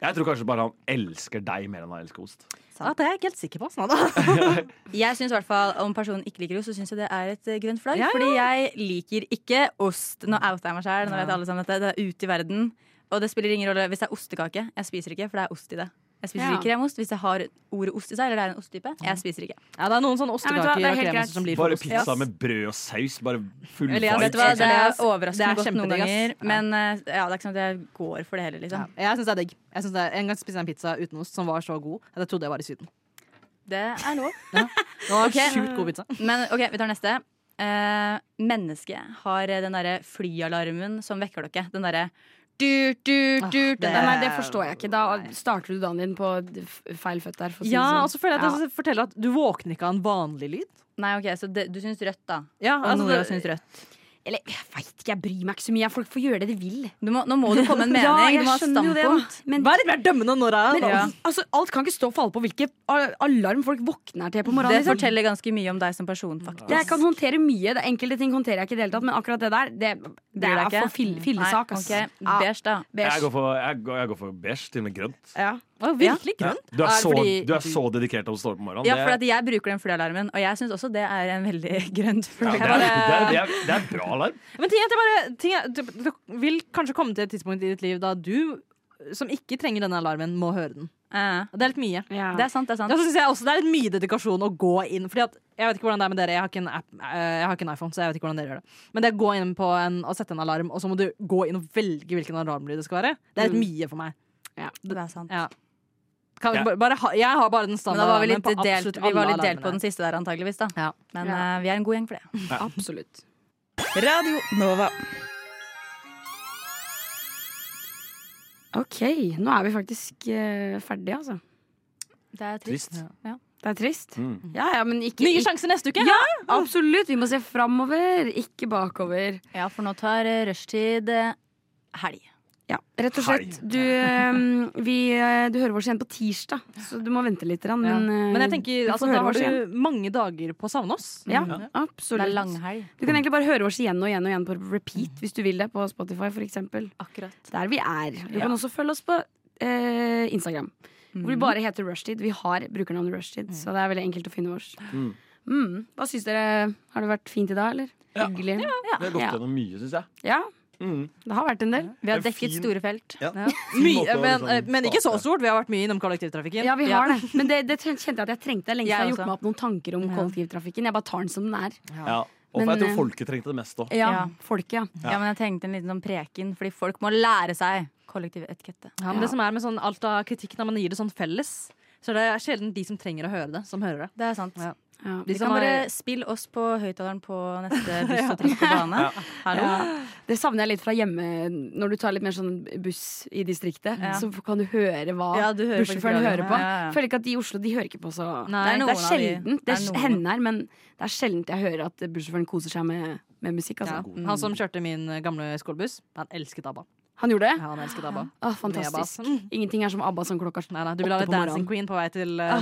Jeg tror kanskje bare han elsker deg mer enn han elsker ost.
Ja, det er jeg ikke helt sikker på. Sånn, da.
Jeg synes i hvert fall Om personen ikke liker ost, så syns jeg det er et eh, grønt flagg.
Ja, ja.
Fordi jeg liker ikke ost. Nå outer jeg meg sjæl. Nå vet alle sammen dette. Det er ute i verden. Og det spiller ingen rolle hvis det er ostekake. Jeg spiser ikke, for det er ost i det. Jeg spiser
Ja.
ikke kremost hvis det har ordet ost i seg, eller det er en osttype. Jeg spiser ikke.
Ja, det er noen
Ja,
sånne
vet du hva, det
ostekaker
er
og
helt
kremoser
greit.
som blir for
Bare
ost.
pizza med brød og saus. Bare full
Elias,
fight.
Vet du hva, Det er
Elias, det
overraskende
er
godt noen
kjempedigg, ass.
ganger, men eh, ja, det er ikke sånn at jeg går for det heller,
Ja,
liksom.
jeg syns det er digg. Jeg synes det er, en gang spiste jeg en pizza uten ost som var så god at jeg trodde jeg var i Syden.
Det er lov.
Det var
Ok.
sjukt god pizza.
Men ok, vi tar neste. Eh, mennesket har eh, den derre flyalarmen som vekker dere. Den derre du, du,
Ah,
du,
det-
Nei, nei, det forstår jeg ikke. Da starter du dagen din på f- feil føtt der. For å si
Ja,
det
og
sånn.
så føler jeg at
Ja.
det forteller at du våkner ikke av en vanlig lyd.
Nei, ok, så det, du syns rødt, da.
Ja,
Og
altså,
Nora
det-
syns rødt.
Eller jeg veit ikke, jeg bryr meg ikke så mye. Folk får gjøre det de vil.
Du må, nå må du komme med en
Ja,
mening.
jeg
du må ha et
skjønner jo det, da.
standpunkt.
Men,
Vær litt mer dømmende, Nora.
men
da.
Ja.
altså, alt kan ikke stå og falle på hvilke a- alarm folk våkner til på morgenen.
det
liksom. Mm.
forteller ganske mye om deg som person, faktisk.
Det jeg kan håndtere mye. Det Enkelte ting håndterer jeg ikke i det hele tatt, men akkurat det der, det, det
Bryr deg
er
ikke? Mm.
for fill, fillesak. ass.
Nei, ok.
Ja,
Beige, da.
beige.
Jeg går for, jeg går, jeg går for beige, til og med grønt.
Ja.
Å, virkelig grønt.
Du er,
Er
så,
fordi-
du er så dedikert til å stå opp om morgenen.
Ja,
Det-
for at jeg bruker den flyalarmen, og jeg syns også det er en veldig grønt
ja,
flagg.
det, er, det, er, det, er, det er bra alarm.
Men ting er at jeg bare, ting er, du, du vil kanskje komme til et tidspunkt i ditt liv da du som ikke trenger denne alarmen, må høre den.
Eh,
Og Det er litt mye.
Ja.
det er sant, det er
Ja,
sant.
så synes jeg også Det er litt mye dedikasjon å gå inn. Fordi at, Jeg vet ikke hvordan det er med dere Jeg har ikke en, app, eh, jeg har ikke en iPhone, så jeg vet ikke hvordan dere gjør det. Men det å gå inn på en, og sette en alarm, og så må du gå inn og velge hvilken alarmlyd det skal være, det
Mm.
er litt mye for meg.
Det er sant.
Ja. Kan,
Ja.
bare, bare, ha- jeg har bare den
Men da var vi
standardalarmen
litt
på absolutt
delt, vi
alle
var litt delt på
alarmene.
den siste der, antageligvis. da
Ja.
Men
Ja.
eh, vi er en god gjeng for det.
Absolutt.
Radio Nova.
OK, nå er vi faktisk eh, ferdige, altså.
Det er
Trist.
Det er trist.
Mm.
Ja, ja, men ikke,
Nye
ikke
sjanser neste uke!
Ja. Absolutt. Vi må se framover, ikke bakover.
Ja, for nå tar eh, rushtid eh, helg.
Ja, rett og slett. Du, eh, vi, eh, du hører oss igjen på tirsdag, så du må vente litt. grann,
Ja.
Men, eh,
Men jeg tenker,
du får
altså,
høre
da har
oss igjen.
du Mm. mange dager på å savne oss.
Ja,
Det er
absolutt.
langhelg.
Du kan egentlig bare høre oss igjen og igjen og igjen på repeat hvis du vil det, på Spotify f.eks.
Akkurat.
Der vi er. Du kan også følge oss på eh, Instagram, hvor vi bare heter Rushtid. Vi har brukernavnet Rushtid, så det er veldig enkelt å finne oss.
Mm.
Mm. Hva syns dere? Har det vært fint i dag, eller?
Ja.
Hyggelig?
Vi har gått
Ja.
gjennom mye, syns jeg.
Ja,
Mm.
det har vært en del.
Vi har
En
dekket
fin-
store felt.
Ja.
Mye,
Måte å
men, eh,
liksom
men ikke så
starte.
stort. Vi har vært mye innom kollektivtrafikken.
Ja, vi har det. Men det, det kjente jeg at jeg trengte. Det er lenge siden
Jeg
jeg har
også.
gjort meg opp noen tanker om kollektivtrafikken. Jeg bare tar den som den er.
Ja. Og for
Men,
jeg tror
eh,
folket trengte det mest òg.
Ja,
Ja.
folket, ja.
Ja, men jeg tenkte en liten sånn preken, fordi folk må lære seg kollektiv etikette.
Ja, men Det som er med sånn alt av kritikk når man gir det sånn felles, så det er sjelden de som trenger å høre det, som hører det.
Det er sant.
Ja.
ja.
Vi
som
kan
har-
bare spille oss på høyttaleren på neste buss og trikk og bane. Hallo.
Det savner jeg litt fra hjemme. Når du tar litt mer sånn buss i distriktet,
Ja.
så kan du høre hva
Ja, du hører faktisk
bussjåføren
radioen.
hører på.
Ja, ja, ja.
Føler ikke at de i Oslo de hører ikke på så
Nei,
Det er,
noen
det er
av de-
sjelden. Det,
det er noen.
hender, men det er sjelden jeg hører at bussjåføren koser seg med, med musikk.
Ja.
Altså.
Han som kjørte min eh, gamle skolebuss, han elsket ABBA.
Han gjorde det?
Ja, han elsket ABBA.
Åh, fantastisk.
Med ABBA.
Ingenting er som ABBA som klokka
Nei, nei, du ville ha
Åtte
litt
på
Dancing
morgenen. Ah.
Queen på vei til eh,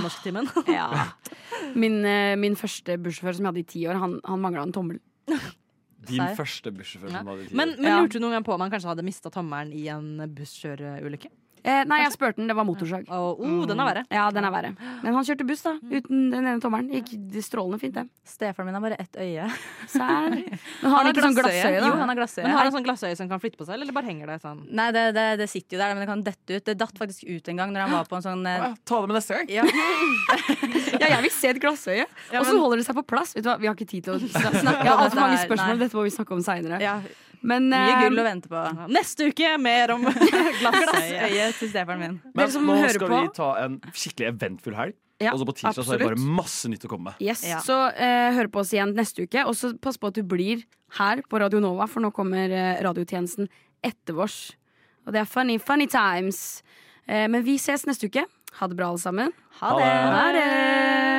norsktimen.
Ja. Min, eh, min første bussjåfør som jeg hadde i ti år, han, han mangla en tommel.
Din
Serr?
første bussjåfør
Ja.
som hadde tid.
Men, men
Ja.
lurte du noen gang på om han kanskje hadde mista tommelen i en busskjøreulykke?
Eh, nei, jeg spurte den, det var motorsag.
Og oh, den er verre.
Ja, den er verre. Men han kjørte buss, da. Uten den ene tommelen. Gikk strålende fint, det.
Stefaren min har bare ett øye.
Sær. Men har han ikke sånn glassøye, da?
Jo, han har glassøye.
Men har
Mm.
han sånn glassøye som kan flytte på seg, eller bare henger det sånn?
Nei, det, det, det sitter jo der, men det kan dette ut. Det datt faktisk ut en gang når han var på en sånn eh,
Ja, Ta det med neste gang.
ja.
Ja, jeg vil se et glassøye. Og så
men-
holder det seg på plass. Vet du hva, Vi har ikke tid til å sna- snakke Jeg har altfor mange spørsmål. Dette må vi snakke om seinere.
ja.
Men
Mye
eh,
gull å vente på.
Neste uke mer om glassøye.
Øyet til Stefaren min.
dere
Men
som
nå
hører
skal
på-
vi ta en skikkelig eventfull helg.
Ja,
og så på tirsdag så er det
absolutt.
bare masse nytt å komme med.
yes,
Ja.
så eh, hør på oss igjen neste uke. Og så pass på at du blir her på Radio Nova, for nå kommer eh, radiotjenesten etter vårs. Og det er funny, funny times. Eh, men vi ses neste uke. Ha det bra, alle sammen.
Ha
Ha
det.
det.
Ha det!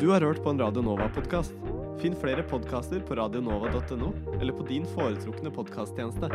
Du har hørt på en Radio Nova-podkast. Finn flere podkaster på radionova.no eller på din foretrukne podkasttjeneste.